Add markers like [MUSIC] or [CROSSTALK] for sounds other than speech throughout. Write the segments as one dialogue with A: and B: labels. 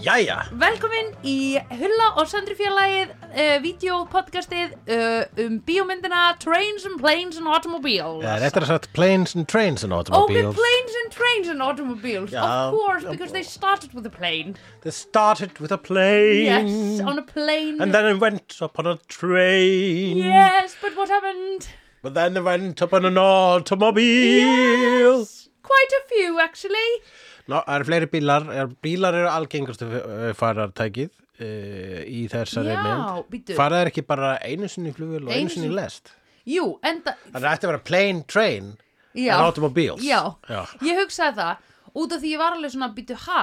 A: Jæja,
B: Velkomin í Hulla og Sandri fjarlægið uh, Vídeopodcastið uh, um bíómyndina Trains and Planes and Automobiles
A: það er eftir að Eh, sagt planes and trains and
B: Open
A: automobiles
B: planes and trains and automobiles
A: Já.
B: Of course, because they started with a plane
A: They started with a plane
B: Yes, on a plane
A: And then it went upon a train
B: Yes, but what happened?
A: But then it went upon an automobile
B: Yes, quite a few actually
A: Ná, það eru fleiri bílar, er, bílar eru algengastu eh, farartækið uh, í þessari
B: Já,
A: mynd
B: bíddu.
A: Farað er ekki bara einu sinni í flugvél og
B: Einu
A: einu sinni í
B: sinni-
A: lest
B: Jú, enda
A: Það ætti að vera plane, train
B: Já.
A: and automobiles
B: Já.
A: Já.
B: ég hugsaði það út af því ég var alveg svona býtu ha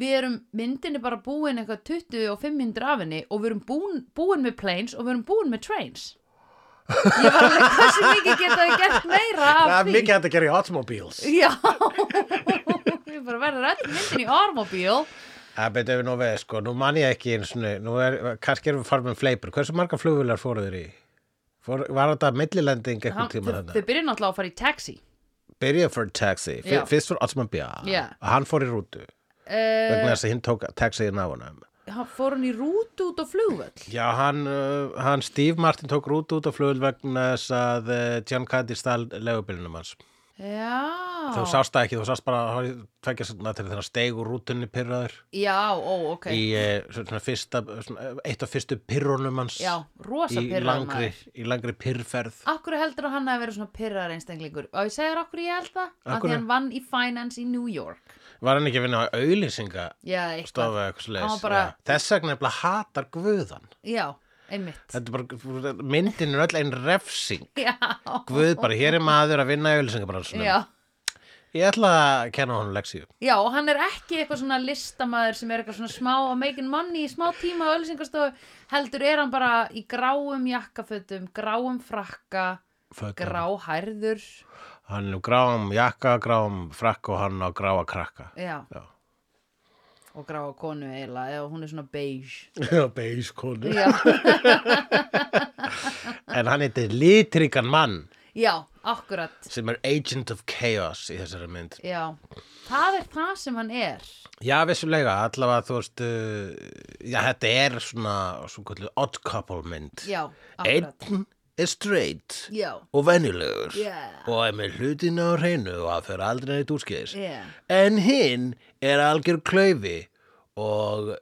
B: við erum myndinni bara búin eitthvað 20 og 500 af henni og við erum búin, búin með planes og við erum búin með trains ég var alveg hversu mikið geta þau gert meira af
A: Það er
B: því
A: mikið hægt að gera í automobiles
B: já [LAUGHS] ég bara verður öll myndin í armobíl
A: Það betur við nú við, sko, nú man ég ekki eins og nú er, kannski erum við farin með fleipur. Hversu marga flugvilar fóru þeir í? Fór, var þetta millilending eitthvað tíma
B: þau
A: þannig?
B: þau byrja náttúrulega að fara í taxi
A: Byrjaði fyrir taxi, fyr,
B: Já.
A: fyrst fyrir automobíl,
B: Já.
A: og hann fór í rútu,
B: uh,
A: vegna þess að hinn tók taxiðin af honum.
B: fór hann í rútu út á flugvöll
A: Já, hann, uh, hann Steve Martin tók rútu út af flugvil vegna þess að uh, John Candy stál legubilinum hans. Þú
B: já
A: sást það ekki, þú sást bara, hann var tvekja svona til þegar hann steig úr rútunni pyrraður
B: já, ó, ok
A: í eh, svona fyrsta, svona, eitt af fyrstu pyrrunum hans.
B: já, rosa
A: í
B: pyrraður
A: langri,
B: maður.
A: í langri pyrrferð
B: Akkur heldur að hann hafi verið svona pyrrar einstaklingur og ég segir okkur ég held það af
A: Akkur?
B: því hann vann í finance í New York
A: var hann ekki að vinna á auðlýsinga
B: Já, eitthvað
A: stofa eitthvað
B: Hann var
A: slags
B: bara-
A: þess vegna nefnilega hatar guðan
B: Já, einmitt
A: þetta er bara, myndin er öll einn refsing
B: Já,
A: guð bara, hér er maður að vinna í auðlýsingabransunum
B: já,
A: ég ætla að kenna honum leksíu
B: já, og hann er ekki eitthvað svona listamaður sem er eitthvað svona smá að making money í smá tíma og ölsingastofu heldur er hann bara í gráum jakkafötum, gráum frakka
A: Fötum.
B: gráhærður
A: hann er gráum jakka, gráum frakk og hann á gráa krakka
B: Já,
A: Já.
B: og gráa konu eiginlega eða hún er svona beige
A: beis konu
B: Já,
A: en hann heitir litrikan mann
B: já, akkurat
A: sem er agent of chaos í þessari mynd
B: Já, það er það sem hann er
A: Já, vissulega, allavega þú veist, uh, já, þetta er svona, svona kallu, odd couple mynd.
B: Já, akkurat
A: Einn er straight
B: Já,
A: og venjulegur
B: Yeah.
A: og er með hlutina á hreinu og að fyrir aldrei neitt úrskeiðis.
B: Yeah.
A: En hinn er algjör klaufi og,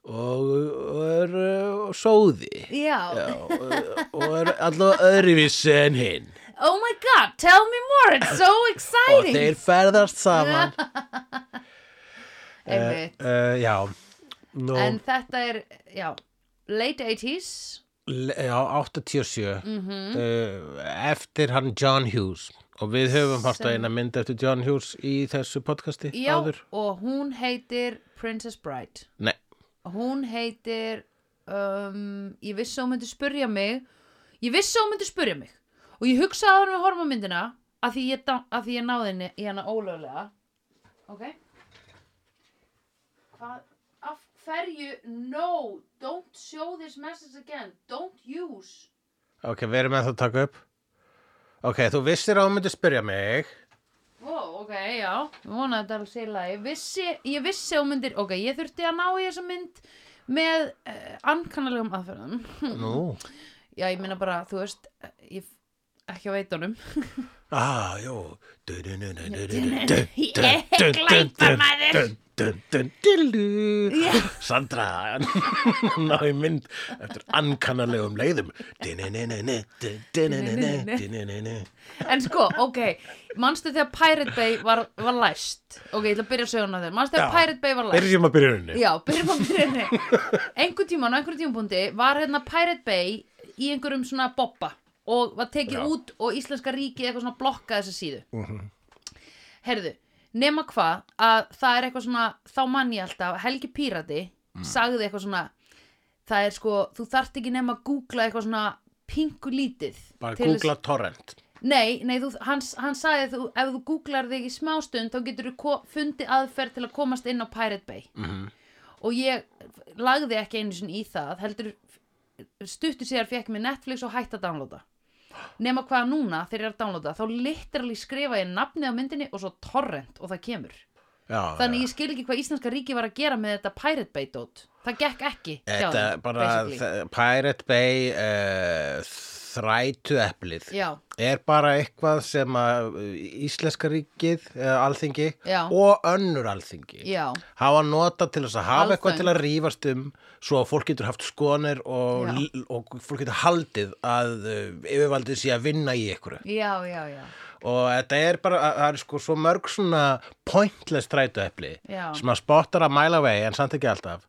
A: og, og er uh, sóði
B: já
A: og, og er allavega öðruvísi en hinn.
B: Oh my god, tell me more, it's so
A: Og
B: exciting
A: þeir ferðast saman.
B: [LAUGHS] Einmitt.
A: Uh, já, nú...
B: En þetta er, já Late 80s
A: Le- Já, 87
B: Mhm.
A: uh, Eftir hann John Hughes Og við höfum hort að
B: Sem-
A: eina mynd eftir John Hughes Í þessu podcasti
B: Já,
A: áður
B: og hún heitir Princess Bride
A: Nei,
B: Hún heitir um, Ég vissi að hún myndi spurja mig Ég vissi að hún myndi spurja mig Og ég hugsaði að hún við horfum á myndina að því, ég, dá- að því ég náði henni í hana ólöglega Ok Hvað Af hverju No, don't show this message again Don't use
A: ok, við erum ennþá að taka upp Ok, þú vissir að hún myndi spyrja mig
B: Ó, ok, já, ég vona að þetta sé í lagi. Vissi, ég vissi að hún myndir, ok, ég þurfti að ná í þessa mynd með uh, ankannalegum aðferðum. [LAUGHS]
A: Nú,
B: Já, ég minna bara, þú veist, eh, ég f- ekki að veita honum. [LAUGHS]
A: ah, jú
B: Ég gleypa maður.
A: Dillu Sandra [LAUGHS] Ná í mynd eftir ankannalegum leiðum Dinninninni, dinninninni, dinninninni.
B: En sko, ok, manstu þegar Pirate Bay var, var læst? Ok, ég ætla að byrja söguna þegar. Manstu þegar
A: Já.
B: Pirate Bay var læst?
A: Byrjum að byrja henni
B: Já, byrjum á byrjunni Einhvern tímann, á einhverjum tímapunkti var hérna Pirate Bay í einhverjum svona boppa og var tekið
A: Já. Mhm.
B: út og íslenska ríkið eitthvað svona blokkaði þessa síðu Herðu, nema hvað að það er eitthvað svona, þá mann ég alltaf Helgi Pírati
A: Mm.
B: sagði eitthvað svona það er sko, þú þarft ekki nema að googla eitthvað svona pingu lítið
A: Bara
B: til þess-
A: googla torrent
B: Nei, nei, þú, hann, hann sagði þú, ef þú googlar þig í smástund þá getur þú fundið aðferð til að komast inn á Pirate Bay -hmm.
A: Mhm.
B: og ég lagði ekki einu sinni í það heldur stuttu síðar fekk mér Netflix og hætti að downloada nema hvað núna þegar ég er að downloada þá literally skrifa ég nafnið á myndinni og svo torrent og það kemur
A: Já,
B: Þannig ég skil ekki hvað íslenska ríki var að gera með þetta Pirate Bay dot. Það gekk ekki. hjá
A: Þetta
B: þeim,
A: bara
B: basically.
A: þ- Pirate Bay uh, þrætu eplið
B: Já,
A: er bara eitthvað sem að eh, íslenska ríkið, uh, alþingi
B: Já.
A: og önnur alþingi
B: já,
A: hafa nota til þess að hafa
B: Alþing.
A: eitthvað til að rífast um svo að fólk getur haft skonir og,
B: Já.
A: l- og fólk getur haldið að uh, yfirvaldið sé að vinna í ykkur
B: já, já, já.
A: og þetta er bara, að- það er sko svo mörg svona pointless strætuepli
B: Já.
A: sem að spottar að mæla vegi en samt ekki alltaf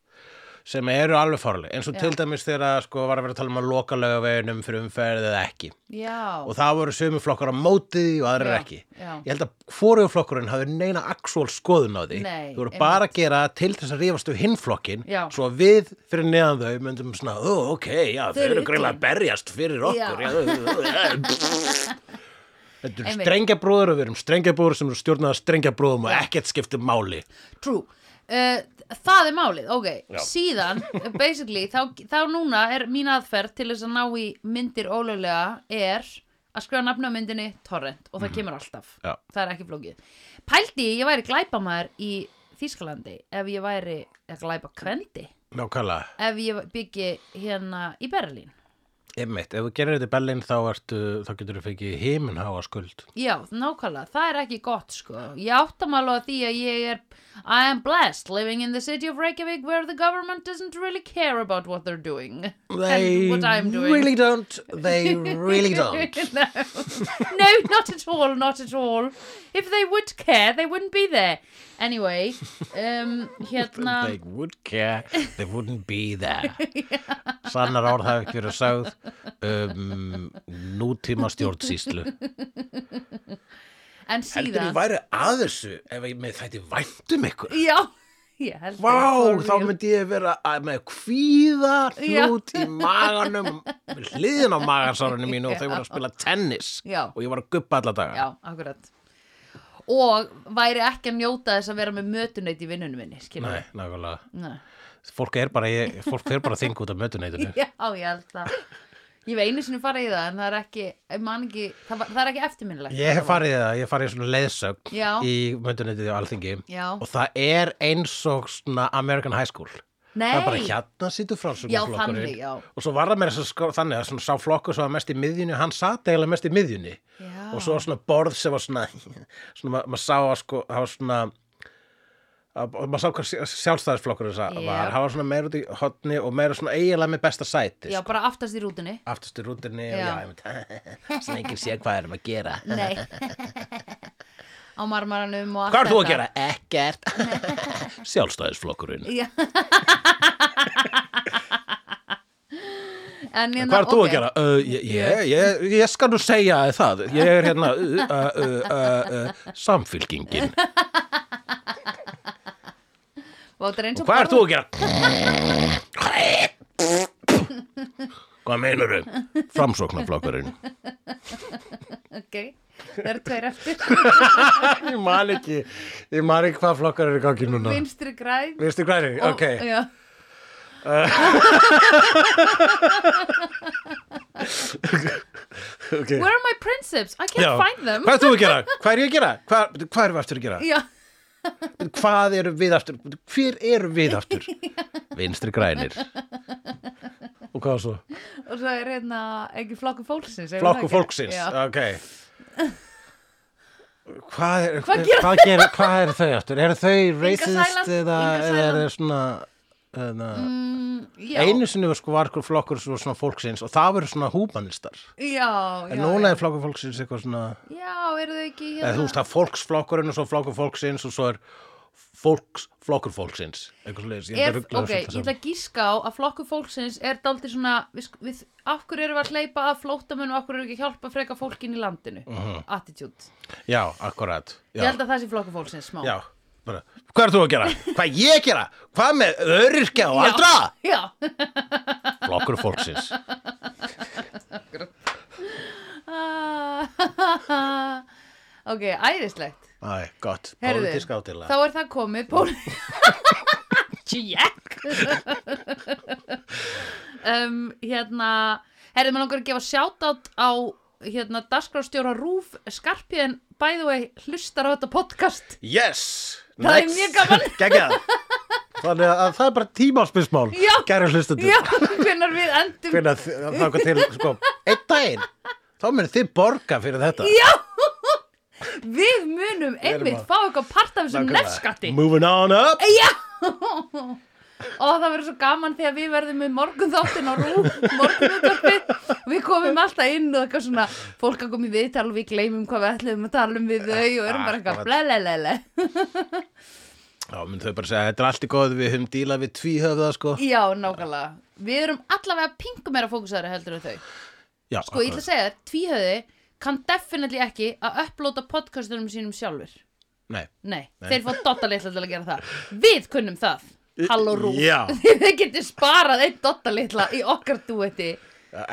A: sem eru alveg farleg eins og
B: Já.
A: til dæmis þegar að, sko var að vera að tala um að loka laugaveginum fyrir umferð eða ekki
B: Já.
A: og það voru sömu flokkar á móti því og aðrir
B: Já,
A: ekki
B: já.
A: ég held að hvorugflokkurinn hafði neina actual skoðun á því
B: Nei,
A: Þau voru
B: einmitt.
A: bara að gera til þess að rífast við hinnflokkin
B: Já.
A: svo að við fyrir neðan þau myndum svona, ó ok, já, þau
B: Þau eru
A: eru greinlega að
B: illa."
A: berjast fyrir okkur
B: Já.
A: já.
B: [LAUGHS]
A: Þetta eru
B: Einmitt.
A: strengjabrúður og við erum strengjabrúður sem eru stjórnaða strengjabrúðum og
B: Já.
A: ekkert skiptum máli
B: True. Uh, það er málið, ok.
A: Já.
B: Síðan, basically, þá, þá núna er mín aðferð til þess að ná í myndir ólöglega er að skrifa nafna á myndinni torrent og það kemur alltaf.
A: Mhm. Já.
B: Það er ekki flókið. Pældi, ég væri glæpamaður í Þýskalandi ef ég væri að glæpa kvendi
A: Nákvæmlega,
B: ef ég byggi hérna í Berlín.
A: einmitt, ef þú gerir þetta í Berlin þá, ertu, þá getur þú fengið himinháa skuld
B: Já, nákvæmlega, það er ekki gott sko. Ég áttam alveg að því að ég er I am blessed living in the city of Reykjavík where the government doesn't really care about what they're doing
A: They
B: and what I'm doing.
A: really don't,
B: [LAUGHS]
A: they really don't
B: no. no, not at all, not at all. If they would care, they wouldn't be there. Anyway,
A: [LAUGHS]
B: um, hérna...
A: they would care, they wouldn't
B: [LAUGHS]
A: be there sannar orð hafa ekki verið sögð um, nútíma
B: [LAUGHS]
A: stjórnsýslu
B: En
A: heldur ég
B: síðan...
A: væri að þessu ef ég með þætti væntum
B: [LAUGHS]
A: ykkur
B: Já, ég held
A: Vá,
B: það.
A: þá myndi ég vera að með kvíða
B: Já.
A: hnút í maganum með hliðin á magasárunni mínu og þau voru að spila tennis
B: Já.
A: og ég var að guppa alla daga
B: Já, akkurat. Og væri ekki að njóta þess að vera með mötuneyt í vinnunum minni, skilur
A: Nei, nákvæmlega
B: Nei.
A: Fólk er bara, ég- fólk er bara að þinga
B: [LAUGHS]
A: út af mötuneytinu
B: Já, ég held það. Ég hef einu sinni farið í það, en það er ekki, ég man ekki, það, var, það er ekki eftirminnilegt.
A: Ég hef farið í það, ég hef farið í svona leiðsögn
B: Já.
A: í möndunetið á alþingi
B: Já.
A: og það er eins og svona American High School
B: Nei.
A: Það er bara hérna sýtu
B: Já,
A: framsögnarflokkurinn
B: þannig, já.
A: og svo var það meira svo sko, þannig að svona sá flokkur sem var mest í miðjunni hann sat eiginlega mest í miðjunni
B: Já.
A: og svo var svona borð sem var svona [LAUGHS] svona ma- maður sá að sko það var svona að- og maður sá hvað sjálfstæðisflokkurinn sa-
B: Jep.
A: var hann var svona meira út í hotni og meira svona eiginlega með besta sæti
B: Já,
A: sko.
B: bara aftast í rútunni.
A: aftastur útinni
B: Já.
A: [LAUGHS] sem enginn sé hvað erum að gera [LAUGHS]
B: Nei. Á marmaranum og allt
A: Hvað er þú að
B: þetta.
A: gera?
B: [LAUGHS]
A: Ekkert. Sjálfstæðisflokkurinn.
B: Já.
A: [LAUGHS]
B: En,
A: En
B: hérna,
A: Hvað er þú
B: ok.
A: að gera? Uh, ég, ég, ég, ég skal nú segja þér það. Ég er hérna uh, uh, uh, uh, uh,
B: [LAUGHS]
A: samfylkingin.
B: Vá, þetta er eins og
A: Hvað er
B: borða-
A: þú að gera? Hvað meinar þau? Framsóknarflokkurinn.
B: Ok, það eru tveir eftir.
A: [LAUGHS] [LAUGHS] Ég man ekki, ég man ekki hvað flokkar eru í gangi núna.
B: Vinstri græn.
A: Vistu hvað er
B: og- Já.
A: ok.
B: Where are my principes? I can't
A: Já.
B: find them.
A: Hvað er þú að gera? Hvað er ég að gera? Hvað, hvað erum við aftur að
B: [LAUGHS]
A: gera?
B: Já.
A: Hvað eru við aftur? Hver eru við aftur?
B: [LAUGHS]
A: Vinstri grænir. Og hvað svo?
B: Og svo er hérna ekki flokku fólksins. er það
A: Flokku
B: ekki?
A: fólksins, uh,
B: Já. [LAUGHS]
A: ok Hvað er,
B: Hvað gera-
A: hvað, gera, hvað er þau aftur? Eru þau
B: Sæland,
A: racist
B: Inga
A: eða, eða er
B: Sæland.
A: þau svona eða,
B: Mm, já.
A: Einu sinni var sko var ykkur flokkur svo svona fólksins og það voru svona húmanistar
B: Já,
A: En
B: já.
A: núna
B: já.
A: er flokkur fólksins eitthvað svona
B: Já, eru þau ekki hérna?
A: eða þú veist það er fólksflokkurinn og svo flokkur fólksins og svo er fólks, flokkur fólksins eitthvað svoleiðis, ég
B: Er,
A: er að rugla
B: ok, ég
A: þessu öllu
B: ætla
A: saman.
B: að gíska á að flokku fólksins er daldið svona, við, sk- við, af hverju erum við að hleypa að flótamenn og af hverju erum við ekki að hjálpa freka fólkin í landinu? Attitude.
A: Já, akkurat
B: Ég
A: Mhm. Já,
B: held að það sé flokku fólksins smá.
A: já bara, Hvað er þú að gera? Hvað ég að gera? Hvað með öryrkja og aldra?
B: Já, [LAUGHS]
A: Flokkur fólksins
B: Ah, ok, æðislegt.
A: Æ, gott,
B: Heyrðu,
A: pólitísk átila
B: Þá er það komið. Pól... [LAUGHS] Jack! um, hérna, herrið, maður langar að gefa shoutout á hérna, dagskrástjóra Rúf Skarpiðin, by the way, hlustar á þetta podcast.
A: Yes,
B: Það er mjög gaman.
A: [LAUGHS] Geggjað. Þannig að það er bara tímálspismál,
B: Já.
A: kæra hlustendur.
B: Já, hvenær við endum
A: Fyrir að það kom til, sko, einn daginn, þá munið þið borga fyrir þetta.
B: Já Við munum einmitt
A: að-
B: fá eitthvað part af þessum
A: Nákvæmlega.
B: nefskatti
A: Moving on up.
B: og það verður svo gaman þegar við verðum með morgunþáttin á rú, morgunútvarpi við komum alltaf inn og eitthvað svona fólk að koma í viðtal og við gleymum hvað við ætlum að tala um við þau og erum bara eitthvað
A: Akkurat.
B: blelelele
A: Já, mun þau bara segja, þetta er allt í góð, við höfum dílað við tvíhöfða, sko.
B: Já, nákvæmlega Við erum allavega pingu meira fókusæri heldur en þau
A: Já,
B: Sko, ég ætla að segja þér, tvíhöði kann definitely ekki að upplóta podcastunum sínum sjálfur
A: Nei.
B: Nei, þeir fá dottalitla til að gera það Við kunnum það Halló rú
A: Já.
B: [LAUGHS] Þið getur sparað einn dottalitla í okkar duetti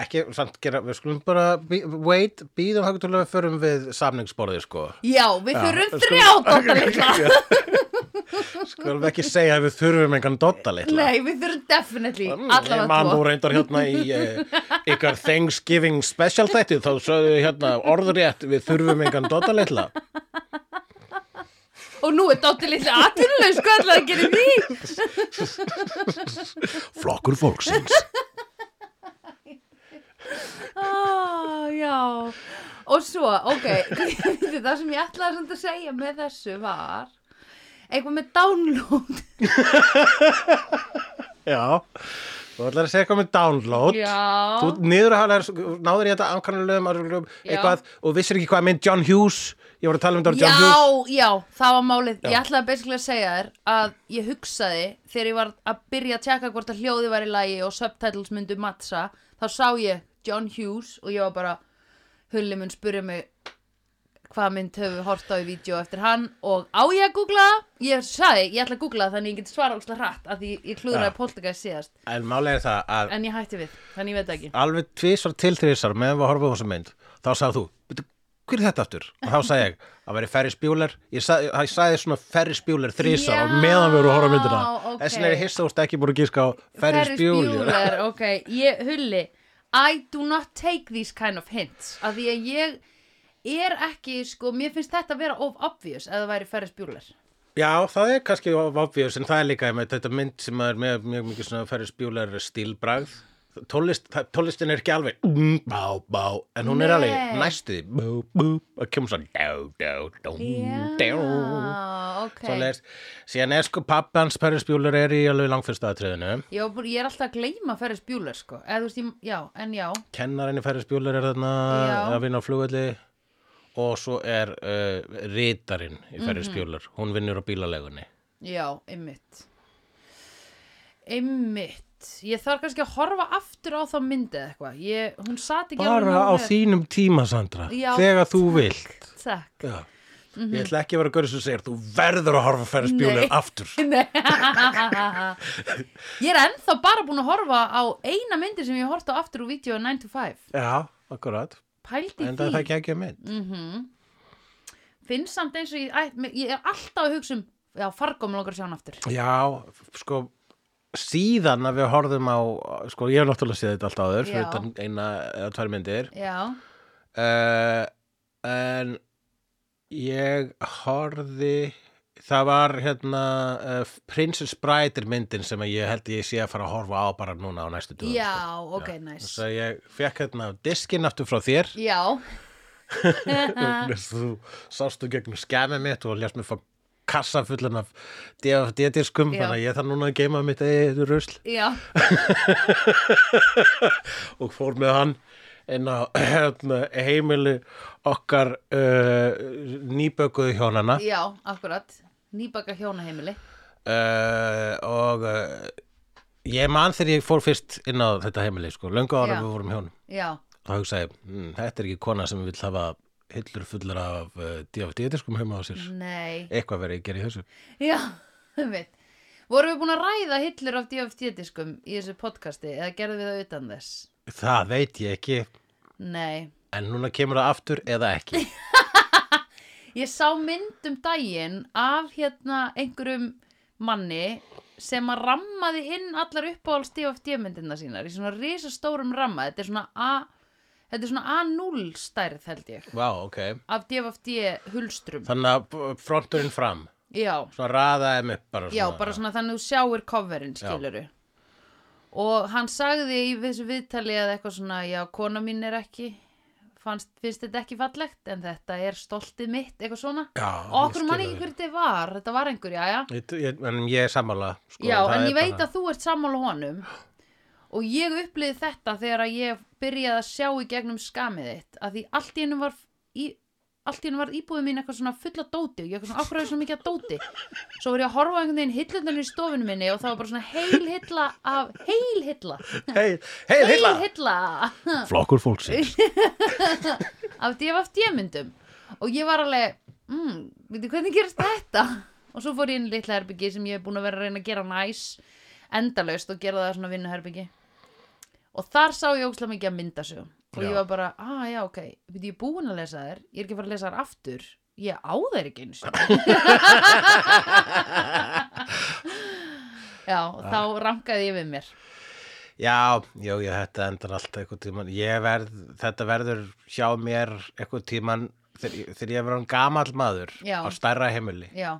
A: Ekki, samt gera, við skulum bara, bí- wait, býðum haugur til að við förum við samningsborðið, sko.
B: Já, við þurfum þrjá
A: [LAUGHS]
B: dottalitla
A: Skulum ekki segja að við þurfum engan dotta litla.
B: Nei, við þurfum definitely
A: Mm, Ég man
B: allavega
A: nú
B: tvo
A: reyndar hérna í uh, ykkar Thanksgiving special þætti þá sögðu þau hérna orðrétt við þurfum engan dotta litla
B: Og nú er dottalitla atvinnulegs, hvað sko, ætlaði að gera í því?
A: flokkur fólksins
B: Ah, já og svo, ok [LAUGHS] Bíddu, það sem ég ætlaði samt að segja með þessu var eitthvað með download
A: Já, þú ætlar að segja eitthvað með download
B: já,
A: Þú niður að hala, náður í þetta ankannulegum
B: Já.
A: eitthvað og vissir ekki hvað mynd John Hughes Ég voru að tala um þetta var John Hughes
B: já, já, það var málið
A: Já.
B: ég ætlaði basically að segja þér að ég hugsaði þegar ég var að byrja að tjekka hvort að hljóði var í lagi og subtitles myndu mattsa þá sá ég John Hughes og ég var bara hulli mun spurja mig hvað mynd höfum við hort á í vídeo eftir hann og á ég að googla það? ég sagði, ég ætla að googla það þannig ég get svara alls hratt af því ég klúðraði
A: Já.
B: poltergeist síðast
A: En málega það að
B: en ég hætti við, þannig ég veit það ekki
A: alveg tvisvar til þrísar meðan við horfum á þessa mynd þá sagði þú, "Bíddu, hver er þetta aftur? og þá sagði ég, það væri Ferris Bueller ég sagði, ég sagði svona Ferris Bueller þrísar
B: Já,
A: og meðan við vorum að horfa á myndina
B: ókei.
A: þess vegna er ég hissa úrst ekki búin að gíska á Ferris
B: Ferris
A: Bueller
B: Bueller, ok, ég, Hulli I do not take these kind of hints af því að ég er ekki, sko, mér finnst þetta að vera of obvious ef það væri Ferris Bueller
A: já, það er kannski obvious en það er líka með þetta mynd sem er með mjög mikið svona Ferris Bueller stílbragð Tólist, það- tólistin er ekki alveg mm, bá, bá, en hún er
B: Nei.
A: alveg næstuði bú, bú, og kemur svona dó, dó, dó, dó.
B: Já, Ah, ok
A: Svoleiðis. Síðan er sko pappi hans Perris Bjúlur er í alveg langfyrsta aðtriðinu.
B: Já, bara- ég er alltaf að gleyma Ferris Bueller, sko eða þú veist, ég, já, en já
A: Kennarinn í Perris Bjúlur er þarna
B: Já.
A: að vinna á flugvelli og svo er uh, rítarinn í
B: Mhm.
A: Perris Bjúlur. Hún vinnur á bílalegunni.
B: já, einmitt einmitt ég þarf kannski að horfa aftur á þá myndið eitthvað, ég, hún sat ekki alveg
A: Bara á
B: nógu vel.
A: þínum tíma, Sandra.
B: Já,
A: þegar þú vilt.
B: Takk.
A: Já. Ég ætla ekki að vera að görða sem segir, þú verður að horfa á Ferris
B: Nei.
A: Bjúlur aftur.
B: [LAUGHS] Nei. ég er ennþá bara búin að horfa á eina myndi sem ég horfði á aftur úr vídeo 9 to 5
A: Já, akkurat.
B: pældi
A: En það
B: því,
A: er það
B: Mhm.
A: ekki ekki að mynd.
B: finn samt eins og ég, æ, mér- ég er alltaf að hugsa um já, fargómi langar að sjá hann aftur
A: Já, sko síðan að við horfðum á sko ég hef náttúrulega séð þetta alltaf áður fyrir
B: Já.
A: utan eina eða tvær myndir
B: já,
A: uh, en ég horfði það var hérna uh, Princess Bride er myndin sem að ég held ég sé að fara að horfa á bara núna á næstu dögum
B: já,
A: sko.
B: ok,
A: Já.
B: næs
A: Þess að ég fekk hérna diskinn aftur frá þér
B: já,
A: [LAUGHS] þú sástu gegnum skemmi mitt og lést mér fá kassa fullan af DVD-diskum
B: Já.
A: þannig að ég þarf núna að geima mitt eigið rusl
B: já,
A: og fór með hann inn á [CLEARS THROAT] hérna, heimili okkar uh, nýbökuðu hjónana
B: já, akkurat nýbaka hjónaheimili
A: uh, og uh, ég man þegar ég fór fyrst inn á þetta heimili sko, löngu ára
B: Já.
A: við vorum hjónum
B: já,
A: þá hugsaði, ég, mm, þetta er ekki kona sem vill hafa hillur fullar af uh, DVD-diskum heima á sér
B: Mm. nei
A: eitthvað verið að gera í þessu
B: já, [LAUGHS] veit vorum við búin að ræða hillur af DFT-diskum í þessu podcasti eða gerðum við það utan þess
A: það veit ég ekki
B: nei
A: en núna kemur það aftur eða
B: [LAUGHS]
A: ekki
B: Ég sá mynd um daginn af hérna einhverjum manni sem að rammaði inn allar uppáhalds DFD myndina sínar í svona risastórum ramma. Þetta er svona, A, þetta er svona A0 stærð held ég
A: Vá, ok
B: af DFD hulstrum.
A: þannig að b- fronturinn fram
B: já,
A: Svona raða þeim upp bara svona.
B: já, bara svona þannig að þú sjáir coverin,
A: Já.
B: skiluru. Og hann sagði í þessu viðtali að eitthvað svona, já, kona mín er ekki, fannst, finnst þetta ekki fallegt, en þetta er stoltið mitt, eitthvað svona.
A: Já,
B: Og okkur mann ekki hver þetta var, þetta var einhver, já, já.
A: Ég, ég, en ég er sammála sko,
B: Já,
A: það
B: en
A: er
B: ég veit
A: bara-
B: að þú ert sammála honum og ég upplýði þetta þegar að ég byrjaði að sjá í gegnum skamið þitt að því allt í hennu var í, allt í hennu var íbúið mín eitthvað svona fulla dóti og ég eitthvað svona ákvæður svona mikið að dóti svo var ég að horfa á einhvern veginn hillundan í stofinu minni og það var bara svona heil hilla af heil hilla
A: Heil, heil, heila
B: heil hilla
A: Flokkur fólksins
B: [LAUGHS] af DFFD myndum og ég var alveg mm, veitir hvernig gerist þetta og svo fór ég inn í litla herbyggi sem ég hef búin að vera að reyna að gera næs endalaust og gera það svona vinnuherbyggi og þar sá ég ókslega mikið að mynda sig og
A: Já.
B: ég var bara, ah já ok veitir ég er búin að lesa þær, ég er ekki að fara að lesa þær aftur ég á þær ekki eins já, og þá rankaði ég við mér
A: Já, já, já, þetta endar alltaf eitthvað tíman Ég verð, þetta verður hjá mér eitthvað tíman þegar, ég- þegar ég verður gamall maður
B: Já.
A: á stærra heimili
B: já,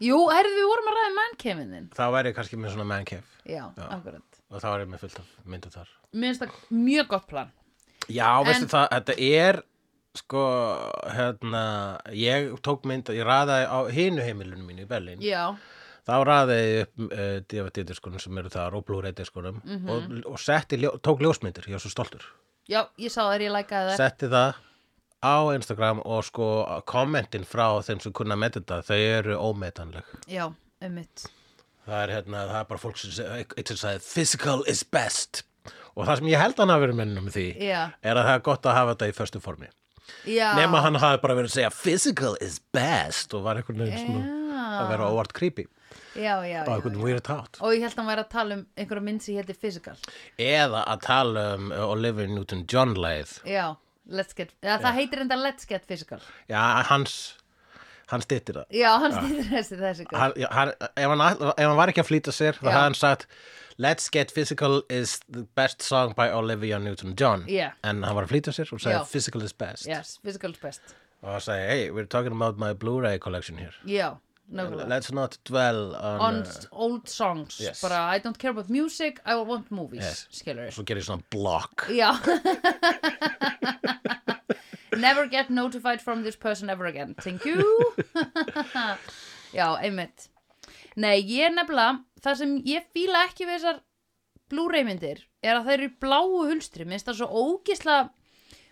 B: jú, herðu við vorum að ræða mannkeminin,
A: Þá væri ég kannski með svona mannkef
B: já, já. akkurat
A: og þá væri ég með fullt af mynda þar
B: Mér finnst það mjög gott plan.
A: Já, veistu það, þetta er sko, hérna ég tók mynda, ég raðaði á hinu heimilinu mínu í Berlín
B: Já,
A: þá raðaði ég upp uh, DVD-diskunum sem eru þar og Blu-ray-diskunum
B: Mhm.
A: og, og setti, ljó, tók ljósmyndir, ég var svo stoltur
B: já, ég sá það er ég lækaði það.
A: setti það á Instagram og sko kommentin frá þeim sem kunna með þetta, þau eru ómetanleg
B: Já, ummitt.
A: það er hérna, það er bara fólk sem seg- eitt sem sagði, physical is best og það sem ég held hann hafi verið mennum því
B: Já.
A: er að það er gott að hafa þetta í föstu formi
B: Já.
A: nema hann hafi bara verið að segja physical is best og var einhvern veginn svona að vera óvart creepy
B: Já, já,
A: og
B: já.
A: einhvern weird out
B: Og ég held að hann væri að tala um einhverja mynd sem héti Physical.
A: eða að tala um uh, Oliver Newton-John leið
B: Já, let's get, já, það heitir enda Let's Get Physical.
A: já, hans hann stýttir það
B: Já, hann stýður þessi þessi.
A: hann, já, hann, ef, hann, all- ef hann var ekki að flýta sér þá
B: Já.
A: hafði hann sagt Let's Get Physical is the best song by Olivia Newton-John
B: Já.
A: en hann var að flýta sér og sagði
B: Já.
A: Physical is best
B: Yes, Physical is best.
A: og hann sagði Hey, we're talking about my Blu-ray collection here
B: Já, nákvæmlega.
A: Let's not dwell on,
B: On
A: uh,
B: s- old songs.
A: Yes.
B: Bara, I don't care about music, I want movies.
A: Yes.
B: Skilur
A: Svo gerir ég svona block
B: Já. [LAUGHS] Never get notified from this person ever again. Thank you. [LAUGHS] Já, einmitt. Nei, ég nefnilega, það sem ég fíla ekki við þessar Blu-ray myndir er að það eru í bláu hulstri. Minnst það svo ógisla,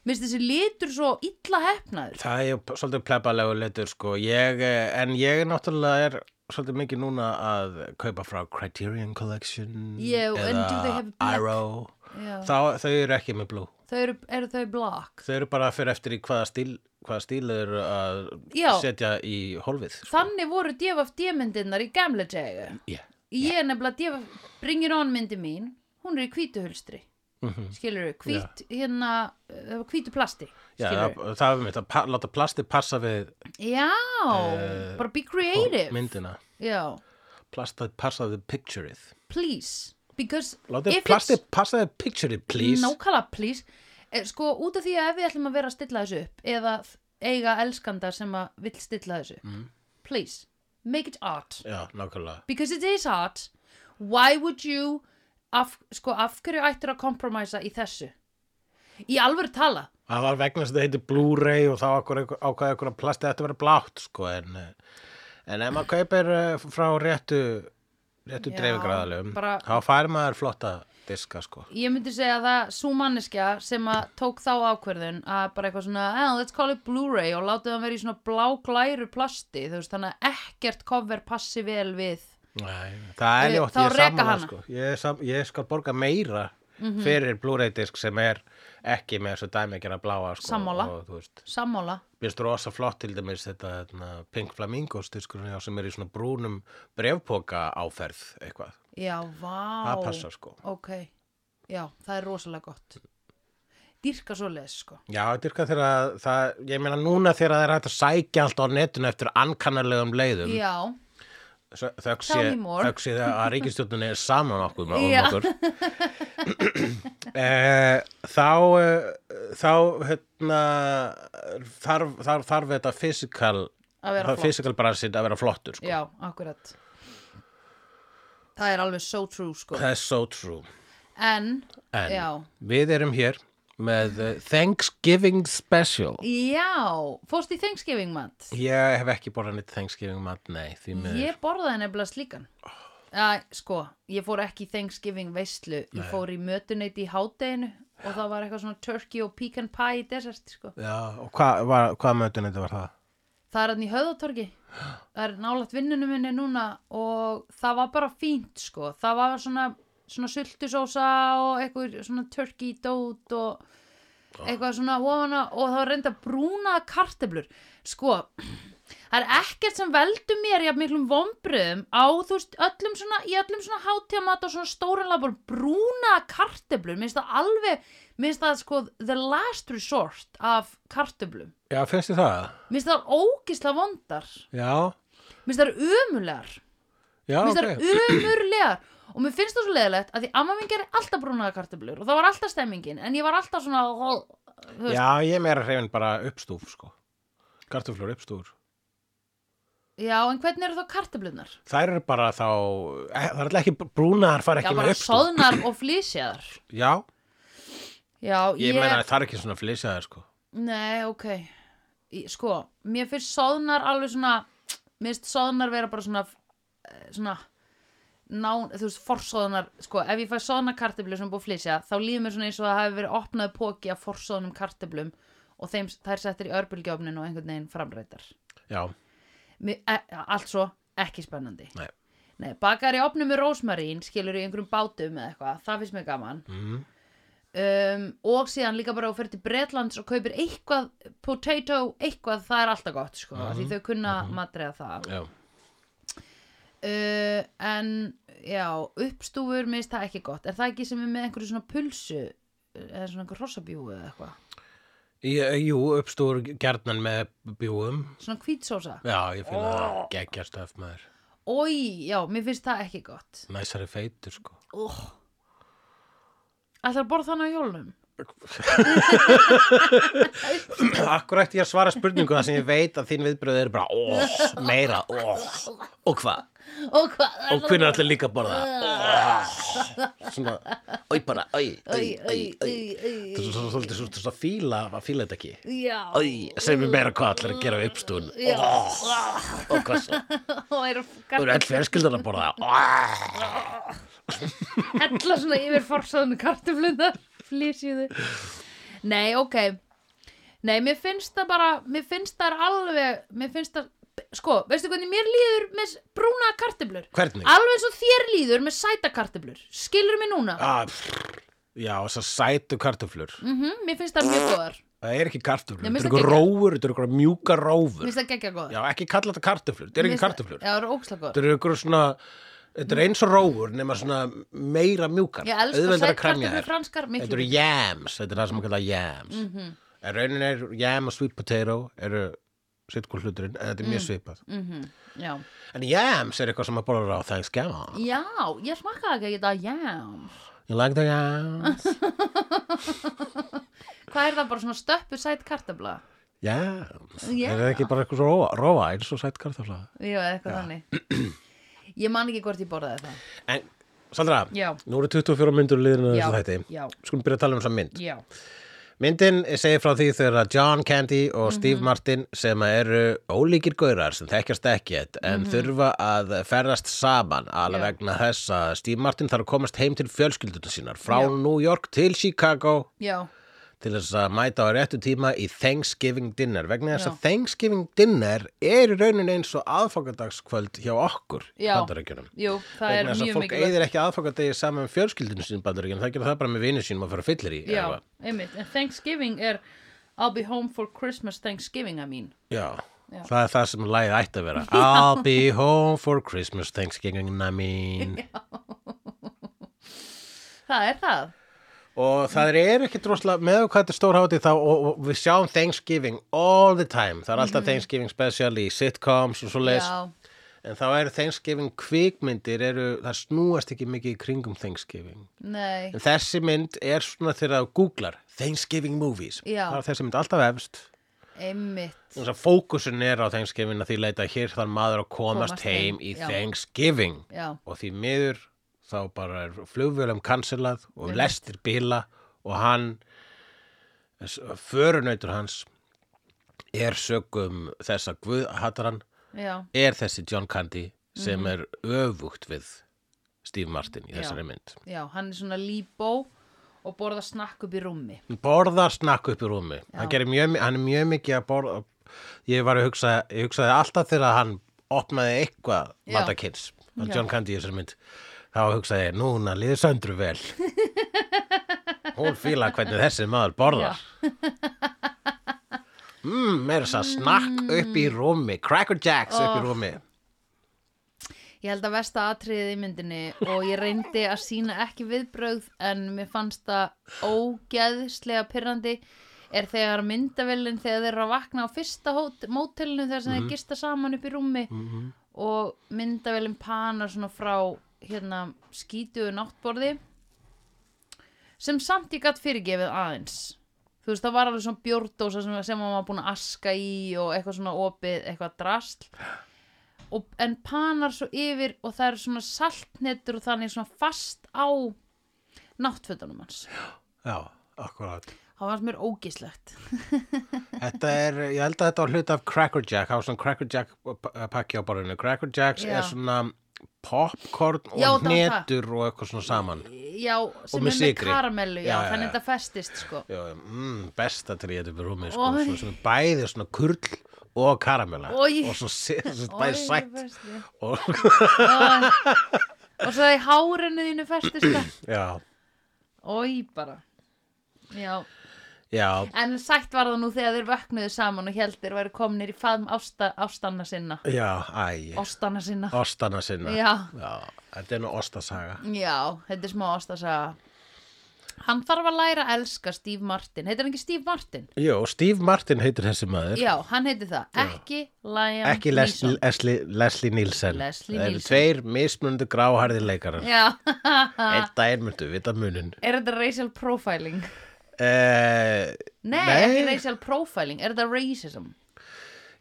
B: minnst þessi litur svo illa hefnaður.
A: Það er ju p- svolítið plebalegu litur sko ég, eh, En ég er náttúrulega er svolítið mikið núna að kaupa frá Criterion Collection
B: Já, en do they
A: eða
B: have black?
A: Arrow
B: Já.
A: Þá, Þau eru ekki með blue
B: Þau eru, eru þau blakk.
A: Þau eru bara að fyrir eftir í hvaða stíl hvaða stíl þau eru að
B: Já.
A: setja í hólfið sko.
B: Þannig voru DFFD myndirnar í gamla tjegu.
A: yeah.
B: Ég er nefnilega DFF, Bring It On myndi mín, hún er í hvítu hulstri.
A: Mhm.
B: skilur við, hvít, hérna uh, hvítu plasti,
A: Já,
B: skilur
A: það, það er mitt að pa, láta plasti passa við
B: já,
A: Eh,
B: bara be creative
A: myndina
B: já,
A: plastið passa við pictureið
B: please because
A: Látið
B: if
A: plastið passa við pictureið,
B: it's
A: please
B: nákvæmlega please Eh, sko út af því að ef við ætlum að vera að stilla þessu upp eða eiga elskanda sem að vill stilla þessu upp,
A: Mhm.
B: please make it art
A: Já, nákvæmlega
B: because it is art why would you af, sko af hverju ættir að kompromisa í þessu í alvöru tala
A: Það var vegna sem það heiti Blu-ray og þá ákvað okkur að plastið ætti að vera blátt sko, en, eh, en ef maður kaupir eh, frá réttu réttu
B: Já,
A: dreifingræðalum
B: bara-
A: þá fær maður flotta diska sko.
B: Ég myndi segja að það svo manneskja sem að tók þá ákverðun að bara eitthvað svona, eh, let's call it Blu-ray og látið hann vera í svona bláglæru plasti þú veist, þannig að ekkert cover passi vel við
A: Nei, það er
B: Eh,
A: ljótt,
B: þá
A: ég er
B: reka
A: sammála
B: hana. Mhm.
A: sko. ég, er sam, ég skal borga meira fyrir Blu-ray disk sem er ekki með þessu dæmi að gera bláa sko,
B: Sammála.
A: og þú veist,
B: sammála.
A: minnst rosa flott til dæmis þetta hérna, Pink Flamingos diskurinn hjá sem er í svona brúnum brefpoka áferð eitthvað,
B: Já, vá.
A: það passar sko
B: Ok, já, það er rosalega gott. Dýrka svo leis, sko.
A: Já, þetta er hvað þegar að það, ég meina núna þegar það er hægt að sækja allt á netinu eftir ankannalegum leiðum
B: Já,
A: þöggs
B: Tell
A: ég,
B: me more.
A: þöggs ég að ríkistjórnunni er saman okkur með
B: Já.
A: um okkur Eh, þá eh, þá hérna þarf, þarf, þarf þetta physical
B: að vera flott
A: physical bransinn að vera flottur sko.
B: já, akkurat það er alveg so true sko
A: það er so true
B: en,
A: en
B: já
A: við erum hér með uh, Thanksgiving special
B: já, fórst í Thanksgiving mat
A: ég hef ekki borðað neitt Thanksgiving mat nei, því með
B: ég borðaði nefnilega slíkan Æ, sko, ég fór ekki í Thanksgiving veislu ég fór í mötuneyt í hádeginu og það var eitthvað svona turkey og pecan pie í desert sko.
A: já, og hvað hva, hva mötun þetta var það?
B: það er hann í höðatorgi það er nálægt vinnunum minni núna og það var bara fínt sko það var svona, svona sultusósa og eitthvað svona turkey dót og eitthvað svona ofana og það var reynda brúna karteblur sko það er ekkert sem veldur mér í að miklum vombriðum á þú veist öllum svona, í öllum svona hátíðamat og svona stóran labur brúna karteblur minnst það alveg, minnst það sko the last resort af karteblum
A: já, finnst þið það?
B: Mér finnst það ógisla vondar
A: já,
B: Mér finnst það ömulegar
A: já,
B: Mér
A: Ah, ok
B: finnst það ömulegar Og mér finnst það svo leðilegt að því amma mín gerir alltaf brúnaða kartöflur Og það var alltaf stemmingin En ég var alltaf svona þú veist,
A: já, ég er meira hreyfin bara uppstúf sko. kartuflur uppstúr
B: já, en hvernig eru þá kartöflunar?
A: þær eru bara þá eh, það er alltaf ekki brúnaðar fara
B: Já,
A: ekki með
B: bara
A: uppstúf
B: soðnar og flýsjaðar
A: já,
B: Já,
A: ég meina það er ekki svona flýsjaðar sko.
B: Nei, ok Í- Sko, mér finnst soðnar alveg svona Mér finnst soðnar vera bara svona eh, Svona Nán, þú veist, forsóðnar sko, ef ég fæ soðna kartöflu sem er búið að flysja þá líður mér svona eins og það hafi verið opnaði póki af forsóðnum kartöflum og þeim, þær settir í örbulgjöfnin og einhvern veginn framrætar
A: já,
B: Mér- e, allt svo ekki spennandi
A: Nei.
B: Nei, bakar í opnum með rósmarín skilur í einhverjum bátum eða eitthvað það finnst mér gaman
A: mm.
B: um, og síðan líka bara að fyrir til Bretlands og kaupir eitthvað, potato eitthvað, það er alltaf gott sko, mm
A: Mhm,
B: því þau kunna mm matreða það
A: já.
B: uh, en já, uppstúfur minnst það ekki gott, er það ekki sem er með einhverju svona pulsu eða svona einhver hrossabjúu eða eitthvað
A: Ég, jú, uppstúr gerðnan með bjúum
B: svona hvítsósa,
A: já, ég finn það
B: Oh.
A: geggjast af maður
B: oi, já, mér finnst það ekki gott
A: næsari feitur sko
B: oh. ætlar að borða þannig á hjólunum
A: [CLEARS THROAT] Akkur eftir ég að svara spurningu það sem ég veit að þín viðbröð er bara oh, meira oh.
B: [LAUGHS]
A: og hvað?
B: og hvað,
A: Og hvernig allir líka borða?
B: Ah.
A: Oh. Svona, oi bara, oi, oi,
B: Æ, æ,
A: oi,
B: æ,
A: oi.
B: æ,
A: Það er svo svolítið svona svona fíla, að fíla þetta ekki.
B: já
A: Oi,
B: [LAUGHS]
A: segir mér meira hvað allir að gera við uppstúðun. Oh. Og hvað svo?
B: og er að
A: Þú eru öll fjölskyldan að borða. Oh.
B: hella svona yfir forsaðan kartufluna flýsjuðu nei, ok nei, mér finnst það bara mér finnst það alveg mér finnst það, sko, veistu hvernig mér líður með brúna kartuflur
A: Hvernig?
B: alveg eins og þér líður með sæta kartuflur skilur mér núna
A: Ah, pff, já, þessar sætu kartuflur.
B: mm mér finnst það mjög góðar mér
A: Það er ekki kartuflur.
B: Nei,
A: Þetta
B: mér
A: er
B: finnst
A: eitthvað
B: það
A: rófur, þetta er eitthvað mjúka rófur.
B: finnst það geggja góðar
A: Já, ekki kalla þetta kartuflur. Þetta er
B: Mér
A: ekki
B: finnst það-
A: kartuflur.
B: já, það eru ókslega góðar
A: Þetta eru ykkur svona Þetta eru eins og rófur nema svona meira mjúkar
B: ég elska
A: Auðveldara
B: sæta
A: að kremja
B: kartuflur
A: þær.
B: franskar Mhm,
A: Þetta
B: miklu
A: eru yams, þetta er það sem að kalla yams mm -hmm. En raunin er yam og sweet potato eru sittkul hluturinn en þetta er mjög svipað
B: Mhm, já.
A: En yams er eitthvað sem að borða á Thanksgiving
B: já, ég smakkaði ekki þetta jam
A: You like
B: [LAUGHS]
A: the yams?
B: hvað er það bara svona stöppu sæt kartufla
A: yams
B: Já.
A: Er það ekki bara eitthvað rófa, rófa eins og sætt kartafla
B: Jú, eða eitthvað þannig Ég man ekki hvort ég borðaði það
A: En, Sandra,
B: Já.
A: nú eru 24 myndur liðin að þessu þætti
B: já,
A: Skulum byrja að tala um þessa mynd
B: já,
A: Myndin segir frá því þegar að John Candy
B: Mhm.
A: og Steve Martin sem að eru ólíkir gaurar sem þekkjast ekkert en þurfa að ferðast saman alveg
B: Mhm. Já.
A: vegna þess að Steve Martin þarf að komast heim til fjölskyldunum sínar frá
B: Já.
A: New York til Chicago
B: já,
A: til þess að mæta á réttu tíma í Thanksgiving dinner vegna þess
B: Já.
A: að Thanksgiving dinner er í raunin eins og aðfangadagskvöld hjá okkur í
B: Já.
A: bandarækjunum
B: jú, það er
A: vegna þess að
B: mjög
A: fólk
B: mikilvægt
A: eyðir ekki aðfangadegi saman með fjölskyldunum sínum bandarækjunum það gerir það bara með vinnu sínum að fara fyllir í
B: Já, einmitt, en Thanksgiving er I'll be home for Christmas Thanksgiving, I mean
A: Já,
B: Já.
A: það er það sem lagið ætti að vera I'll be home for Christmas Thanksgiving
B: [LAUGHS]
A: I mean
B: Það er það
A: Og það er ekki drosla með hvað þetta er stór hátíð þá og, og við sjáum Thanksgiving all the time Það er alltaf Thanksgiving special í sitcoms og svo les
B: Mhm. Já,
A: En þá eru Thanksgiving kvikmyndir eru, það snúast ekki mikið í kringum Thanksgiving
B: nei,
A: En þessi mynd er svona þegar þú googlar Thanksgiving movies
B: Já.
A: Það er þessi mynd alltaf efst
B: einmitt
A: Þess að fókusun er á Thanksgiving að því leita að hér þar maður að komast,
B: Komast
A: heim,
B: heim,
A: í
B: já.
A: Thanksgiving
B: já,
A: og því miður þá bara er flugvélum kansilað og
B: Einmitt.
A: lestir bila og hann förunautur hans er sögum þess að Guð hattar hann
B: já,
A: er þessi John Candy sem er öfugt við Steve Martin í þessari mynd
B: Mhm. já hann er svona líbó og borða snakk upp í rúmi
A: Hann borðar snakk upp í rúmi hann, gerir mjög, mi- hann er mjög mikið að borða ég var að hugsa, ég hugsaði alltaf þegar hann opnaði eitthvað
B: Já.
A: matakins, hann
B: Já.
A: John Candy í þessari mynd þá hugsaði ég, núna liður
B: [LAUGHS]
A: söndru vel hún fíla hvernig þessi maður borðar mm, meira þess að snakk upp í rúmi Cracker Jacks upp í rúmi
B: ég held að versta atriðið í myndinni og ég reyndi að sína ekki viðbrögð en mér fannst það ógeðslega pyrrandi er þegar myndavillin þegar þeir eru að vakna á fyrsta hót- mótelinu þegar sem þeir gista saman upp í rúmi og myndavillin panar svona frá hérna skítuðu náttborði sem samt ég gatt fyrirgefið aðeins þú veist það var alveg svona bjórdósa sem, sem maður var búin að aska í og eitthvað svona opið eitthvað drasl og, en panar svo yfir og það eru svona saltnetur og þannig svona fast á náttfötunum hans
A: já, akkurat
B: það fannst mér ógislegt
A: Þetta er, ég held að þetta var hluti af Cracker Jack, það var svona Cracker Jack pa- pakki á borðinu. Cracker Jacks
B: Já.
A: er svona popcorn og
B: Já, það var það.
A: hnetur og eitthvað svona saman.
B: já, sem
A: með
B: er með
A: sykri.
B: karamellu já,
A: Já, já,
B: þannig
A: já.
B: að þetta festist sko
A: Já, já, mm, besta til ég þetta upp í rúmi, sko,
B: Oj.
A: svona, svona bæði svona kurl og karamella
B: Oj.
A: og svona, si- svona
B: Oj,
A: bæði sætt
B: festi.
A: og,
B: Ó, og svo það í hárinu þínu festist það
A: já,
B: oi bara já,
A: já,
B: en sætt var það nú þegar þeir vöknuðu saman og heldur væri komnir í faðm ásta, ástanna sinna
A: já, æ,
B: ástanna sinna
A: ostana sinna.
B: já,
A: þetta er nú ostasaga.
B: Já, þetta er smá ástasaga Hann þarf að læra að elska Steve Martin Heitir hann ekki Steve Martin?
A: Jú, Steve Martin heitir þessi maður.
B: Já, hann heitir það Ekki Liam
A: Ekki Leslie,
B: Neeson
A: Leslie, Leslie Nielsen.
B: Leslie
A: Það eru
B: Nielsen.
A: tveir mismunandi gráharði leikarar.
B: Já, [LAUGHS]
A: Einn daginn myndu vita munin.
B: er þetta racial profiling?
A: Uh,
B: Nei, ekki racial profiling Er þetta racism?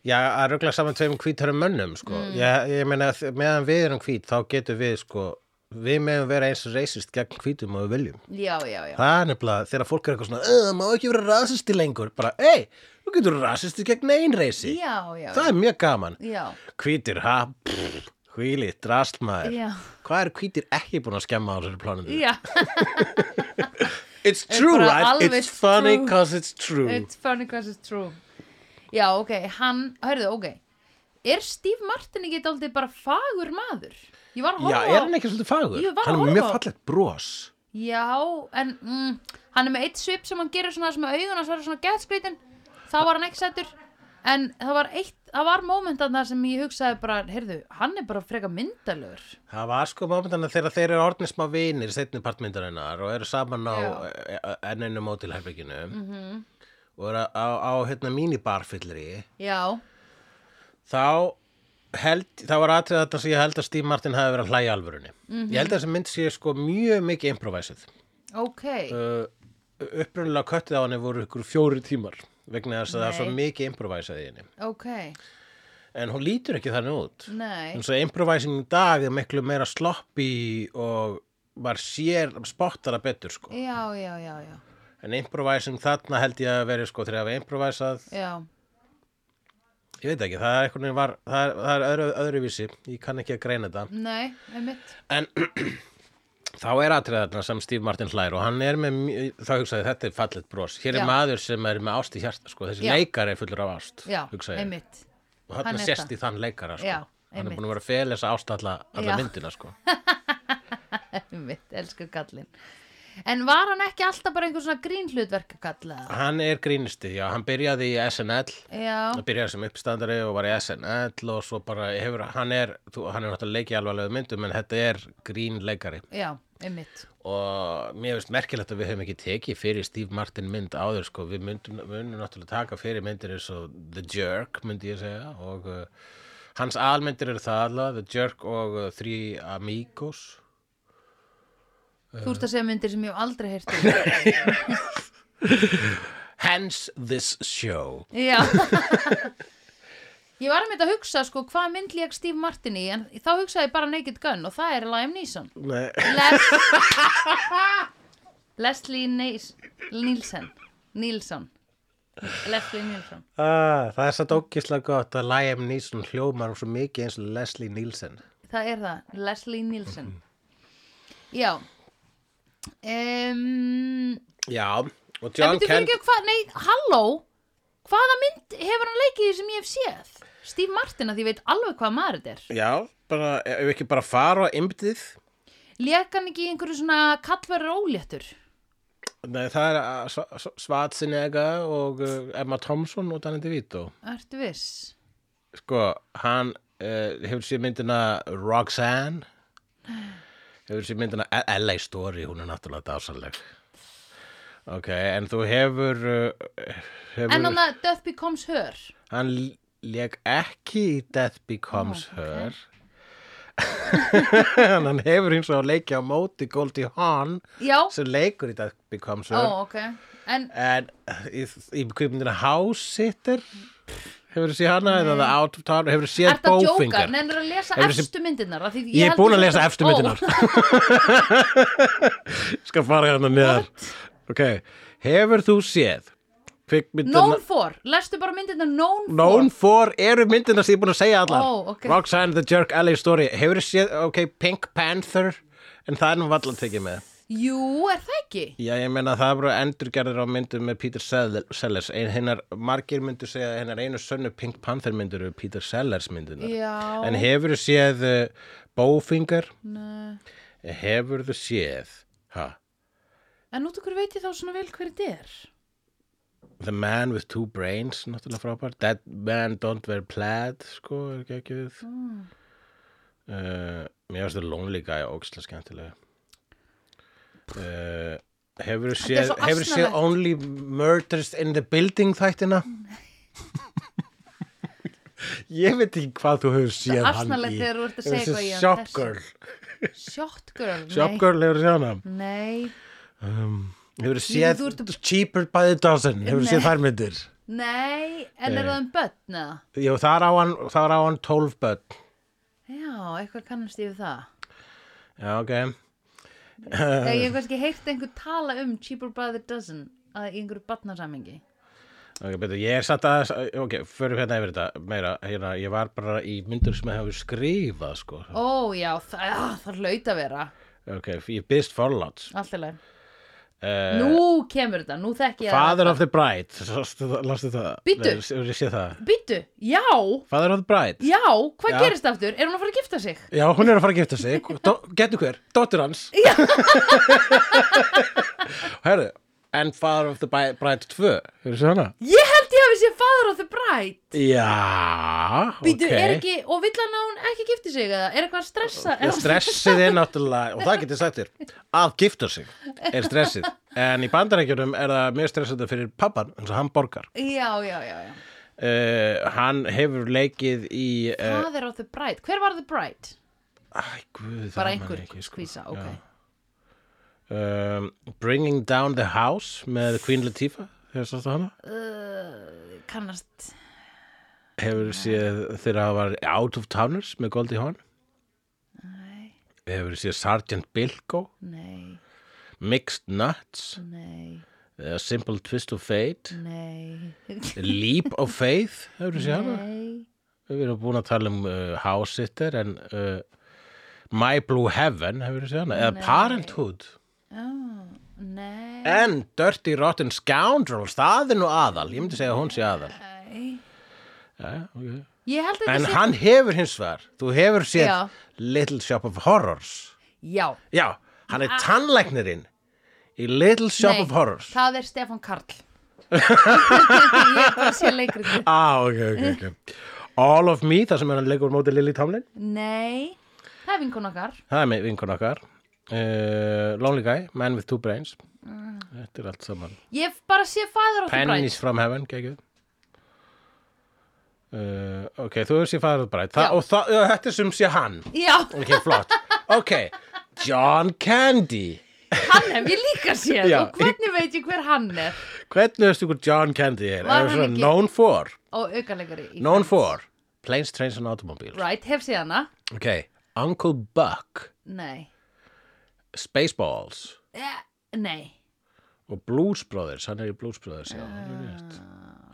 A: Já, að ruggla saman tveim hvítarum mönnum, sko.
B: Mm.
A: Ég, ég meina, þ- meðan við erum hvít, þá getum við, sko, við meðum vera eins og reisist gegn hvítum og við viljum.
B: Já, já, já
A: Það er nefnilega, þegar fólk er eitthvað svona, "Eh, það má ekki vera rasisti lengur, bara, ei, þú getur rasisti gegn einn reisi.
B: Já, já,
A: Það er mjög gaman.
B: já
A: Hvítir, ha, pff, hvíli, drastmaður.
B: Já.
A: Hvað er hvítir ekki búin að skemma á þessari plánundu? [LAUGHS]
B: Já,
A: It's
B: Er
A: true,
B: bara
A: right?
B: alveg
A: It's funny
B: true.
A: because it's true.
B: [LAUGHS] it's funny because it's true Já, ok, hann, hörðu, ok Er Steve Martin ekki aldrei bara fagur maður? Ég var að
A: Já,
B: horfa á-
A: er hann ekki svolítið fagur?
B: Ég var að
A: hann er
B: horfa
A: með mjög
B: á-
A: fallegt bros.
B: Já, en mm, hann er með eitt svip sem hann gerir svona sem augun hans verður svona geðskrítin það var hann ekki sættur en það var eitt, það var momentan þar sem ég hugsaði bara, heyrðu, hann er bara freka myndalögur
A: Það var sko momentana þegar þeir eru orðnir smá vinir setni partmyndarinnar og eru saman á
B: Já. Mhm.
A: eh, eh, enn einu mótilherbygginu og eru á, á hérna mínibarfyllri
B: Já,
A: þá held, þá var atrið þetta sem ég held að Steve Martin hafi verið að hlæja í alvörunni.
B: Mhm.
A: Ég held að þessi mynd sé sko mjög mikið improvisið.
B: ok
A: Uh, upprunalega köttið á henni voru ykkur fjóri tímar vegna þess að það er svo
B: Nei.
A: mikið improvisað í henni.
B: ok,
A: En hún lítur ekki þannig út.
B: nei
A: eins og improvising í dag er miklu meira sloppy og maður sér spottara betur sko
B: Já, já, já, já
A: en improvising þarna held ég að veri sko þegar við improvisað,
B: Já,
A: ég veit ekki, það er einhvern veginn var það er, það er öðru, öðruvísi, ég kann ekki að greina þetta
B: nei, einmitt
A: en [CLEARS THROAT] þá er atrið þarna sem Steve Martin hlær og hann er með, mj- þá hugsaði þetta er fallet bros, hér er
B: Já.
A: maður sem er með ást í hjarta sko, þessi
B: Já.
A: leikari er fullur af ást
B: Já,
A: hugsaði, ég.
B: einmitt [LAUGHS]
A: og hann,
B: hann er
A: sést
B: það.
A: í þann leikara sko,
B: Já,
A: hann er
B: einmitt.
A: búin að vera að fela þessa ást alla, alla
B: Já.
A: myndina sko
B: Einmitt, elsku kallinn En var hann ekki alltaf bara einhver svona grínhlutverk að kalla það?
A: Hann er grínisti, já, hann byrjaði í SNL
B: Já,
A: hann byrjaði sem uppstandari og var í SNL og svo bara hefur, hann er þú, hann er náttúrulega leikið alvarlega myndum en þetta er grínleikari
B: já, einmitt
A: og mér finnst merkilegt að við höfum ekki tekið fyrir Steve Martin mynd áður sko, við myndum, myndum náttúrulega taka fyrir myndir eins og The Jerk myndi ég segja og uh, hans almyndir eru það allavega, The Jerk og uh, Three Amigos
B: Þú ert að segja myndir sem ég hef aldrei heyrt um
A: Hence this show
B: Já Ég var að mynda að hugsa sko hvað mynd lék Steve Martin í en þá hugsaði ég bara Naked Gun og það er Liam Neeson
A: Nei,
B: Les Leslie Neis Nielsen Nielsen Leslie Nielsen
A: ah, Það er satt ókislega gott að Liam Neeson hljómar svo mikið eins og Leslie Nielsen
B: Það er það, Leslie Nielsen Já um,
A: Já, og
B: En
A: John
B: veitum fyrir
A: Kent
B: ekki hvað, nei, halló Hvaða mynd hefur hann leikið í sem ég hef séð? Steve Martin að ég veit alveg hvað maður þetta er
A: Já, bara, ef ekki bara fara á ymbdið
B: Lék hann ekki í einhverju svona kallverður óléttur
A: Nei, það er ah, Svartsinega og uh, Emma Thompson og Danny DeVito
B: Ertu viss?
A: Sko, hann uh, hefur sér myndina Roxanne Hefur sér myndina L- LA Story, hún er náttúrulega dásaleg Ok, en þú hefur, uh, hefur
B: En hann að Death Becomes Her
A: Hann leik ekki í Death Becomes Her [LAUGHS] en hann hefur eins og að leikja á móti Goldie Hawn
B: Já,
A: sem leikur í Death Becomes
B: ó,
A: Her
B: ok En
A: en í, í kvikmyndina House Sitter hefur þú séð hana eða The Out of Town hefur þú séð
B: Ertu að djóka?
A: Bowfinger
B: Nei, hann er að lesa
A: Hefur þessi-
B: efstu myndirnar af því
A: ég er
B: held
A: búin að
B: þú
A: lesa
B: sért Ó,
A: efstu [LAUGHS] myndinar skal fara hérna neðar ok, hefur þú séð kvikmyndina
B: Known for, lestu bara myndirnar Known,
A: Hérna- Known for eru myndina sem ég er búin að segja allar
B: Ó, ok.
A: Roxanne the Jerk, LA Story Hefur þið séð, ok, Pink Panther En það er nú vallan tekið með
B: for Jú, er það ekki?
A: Já, ég meina það eru endurgerðir á myndum með Peter Sell- Sellers Ein, hinnar, Margir myndu segja að hennar einu sönnu Pink Panther myndur eru Peter Sellers myndunar
B: Já.
A: En hefur þið séð uh, Bowfinger
B: Nei.
A: Hefur þið séð ha,
B: En út okkur veit ég þá svona vel hver þetta er
A: The Man with Two Brains Náttúrulega frábær That Man Don't Wear Plaid Sko, er ekki ekki við
B: mm. Ah.
A: Uh, mér finnst það Lonely Guy ógislega skemmtilega uh, Hefur þú
B: er
A: séð,
B: svo
A: hefur séð
B: asnalegt.
A: Only Murders in the Building þættina? ég veit ekki hvað þú hefur séð
B: er
A: hann
B: asnalegt
A: í
B: þegar þú ert að segja
A: Hefur séð
B: eitthvað í hann,
A: Shop
B: þessu.
A: Girl
B: Shot Girl,
A: Shop Girl hefur séð hana
B: nei Nei,
A: um, Hefur þú
B: Líka,
A: séð
B: þú ert
A: Cheaper by the Dozen Hefur þú
B: Nei.
A: séð þær myndir?
B: nei, en er
A: Nei.
B: það um börn eða?
A: Jú, þar á hann, þar á hann 12 börn
B: Já, eitthvað kannast ég við það
A: Já, ok
B: Þegar ég hef kannski heyrt einhver tala um Cheaper by the Dozen að í einhverju barnasamingi
A: Ok, betur, ég er satt að, ok, förum hérna yfir þetta meira, hérna, ég var bara í myndur sem hefur skrifað, sko,
B: Ó, já, það, ah, það hlaut að vera
A: ok, ég byrst forláts.
B: Allt í lagi
A: Uh,
B: Nú kemur þetta, nú þekk ég
A: Father of the Bride, sástu það- lastu það?
B: Bíddu.
A: Nei, hefur ég sé það.
B: Býttu, já,
A: Father of the Bride,
B: já, hvað
A: Já.
B: gerist aftur? Er hún að fara að gifta sig?
A: já, hún er að fara að gifta sig, Do, getur hver, dóttir hans.
B: Já.
A: [LAUGHS] Herðu, and Father of the Bi- Bride 2, hefur séð hana?
B: Ég held ég hafi séð Father of the Bride
A: Já,
B: Býtu,
A: ok.
B: er ekki, og vill hann að hún ekki gifti sig eða? Er eitthvað að stressa?
A: Já, stressið er náttúrulega, og það getur sagt þér, að gifta sig er stressið. En í bandarækjunum er það mjög stressandi fyrir pappan, eins og hann borgar.
B: Já, já, já, já
A: Uh, hann hefur leikið í... Uh,
B: Father of the Bride, hver var The Bride?
A: æ, guð, það
B: Bara
A: man
B: einhver
A: ekki, sko.
B: skvísa, ok
A: Já. Um, Bringing Down the House með Queen Latifah, hefur sagt það hana.
B: uh, Kannast
A: Hefur séð þegar það var Out of Towners með Goldie Hawn.
B: Nei,
A: Hefur séð Sergeant Bilko,
B: nei,
A: Mixed Nuts,
B: nei,
A: A Simple Twist of Fate,
B: nei
A: Leap of Faith, hefur séð hana.
B: Nei,
A: Við erum búin að tala um uh, House Sitter en uh, My Blue Heaven hefur við séð hana, eða
B: Nei.
A: Parenthood
B: já, nei
A: en Dirty Rotten Scoundrels það er nú aðal, ég myndi segja að hún sé aðal
B: Nei.
A: ja, okay.
B: Ég held að
A: en
B: þetta sé
A: hann hefur hins vegar þú hefur séð
B: Já.
A: Little Shop of Horrors
B: Já,
A: já, hann er tannlæknirinn í Little
B: Ah.
A: Shop
B: Nei.
A: of Horrors
B: það er Stefán
A: [LAUGHS]
B: Karl Ég er bara að sé leikrið
A: ah, okay, okay, okay. All of Me, það sem hann leikur móti Lily Tomlin
B: Nei, það er vinkun okkar
A: það er með vinkun okkar uh, Lonely Guy, Man with Two Brains
B: Mm.
A: þetta er allt saman
B: Ég hef bara sé Father of the Bride
A: Pennies from Heaven, geggjuð uh, Ok, þú hefur séð Father of the Bride Þa,
B: Já.
A: Og það,
B: [LAUGHS]
A: já, þetta er sem sé hann
B: Já,
A: Ok, flott Ok, John Candy
B: hann hef ég líka séð
A: Já.
B: og hvernig veit ég hver hann er
A: Hvernig veistu hvað John Candy er?
B: Var
A: Er
B: hann
A: svona
B: ekki-
A: known for
B: og aukalegari í
A: Known
B: Friends.
A: for Planes, Trains and Automobiles
B: right, hef séð hana
A: Ok, Uncle Buck
B: nei,
A: Spaceballs
B: eh, nei
A: og Blues Brothers, hann er í Blues Brothers já, alveg rétt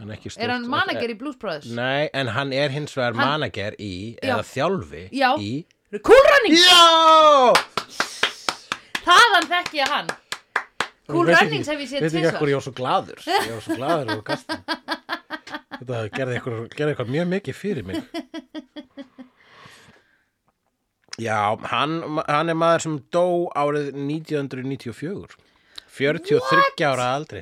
A: En ekki stort
B: Ah. er hann manager í Blues Brothers
A: Nei, en hann er hins vegar manager í eða þjálfi
B: Já.
A: í
B: cool running,
A: Já!
B: þaðan þekki ég hann Cool
A: Ég veit
B: Runnings
A: ekki-
B: hef ég séð
A: Veit ekki
B: tvisvar.
A: hvað ég var svo
B: [LAUGHS]
A: gladur Ég var svo gladur og kastin Þetta gerði eitthvað, gerði eitthvað mjög mikið fyrir mig Já, hann, hann er maður sem dó árið 1994 43 ára að aldri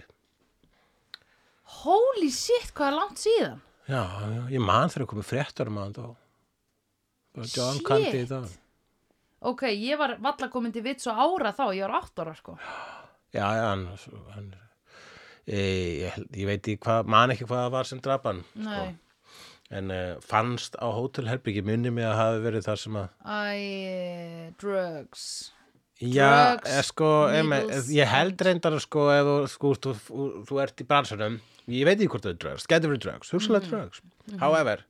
B: holy shit, hvað er langt síðan
A: Já, já, ég man þegar komið fréttur um að hann dó Bara John Candy í
B: Shit.
A: dag
B: ok, ég var valla komin til vits og ára þá, ég var 8 ára sko
A: Já, já, hann, hann e, ég, held- ég veit í hvað, man ekki hvað það var sem drap hann sko.
B: nei,
A: En uh, fannst á hótelherbyggi munni mig að hafi verið þar sem að
B: æ, drugs
A: Já,
B: Drugs,
A: eh, sko, eme,
B: needles,
A: ég held reyndar að sko, ef þú, sko, þú, þú, þú ert í bransunum Ég veit ekki hvort það er drugs, getur verið drugs, hugsalega
B: Mhm,
A: drugs However,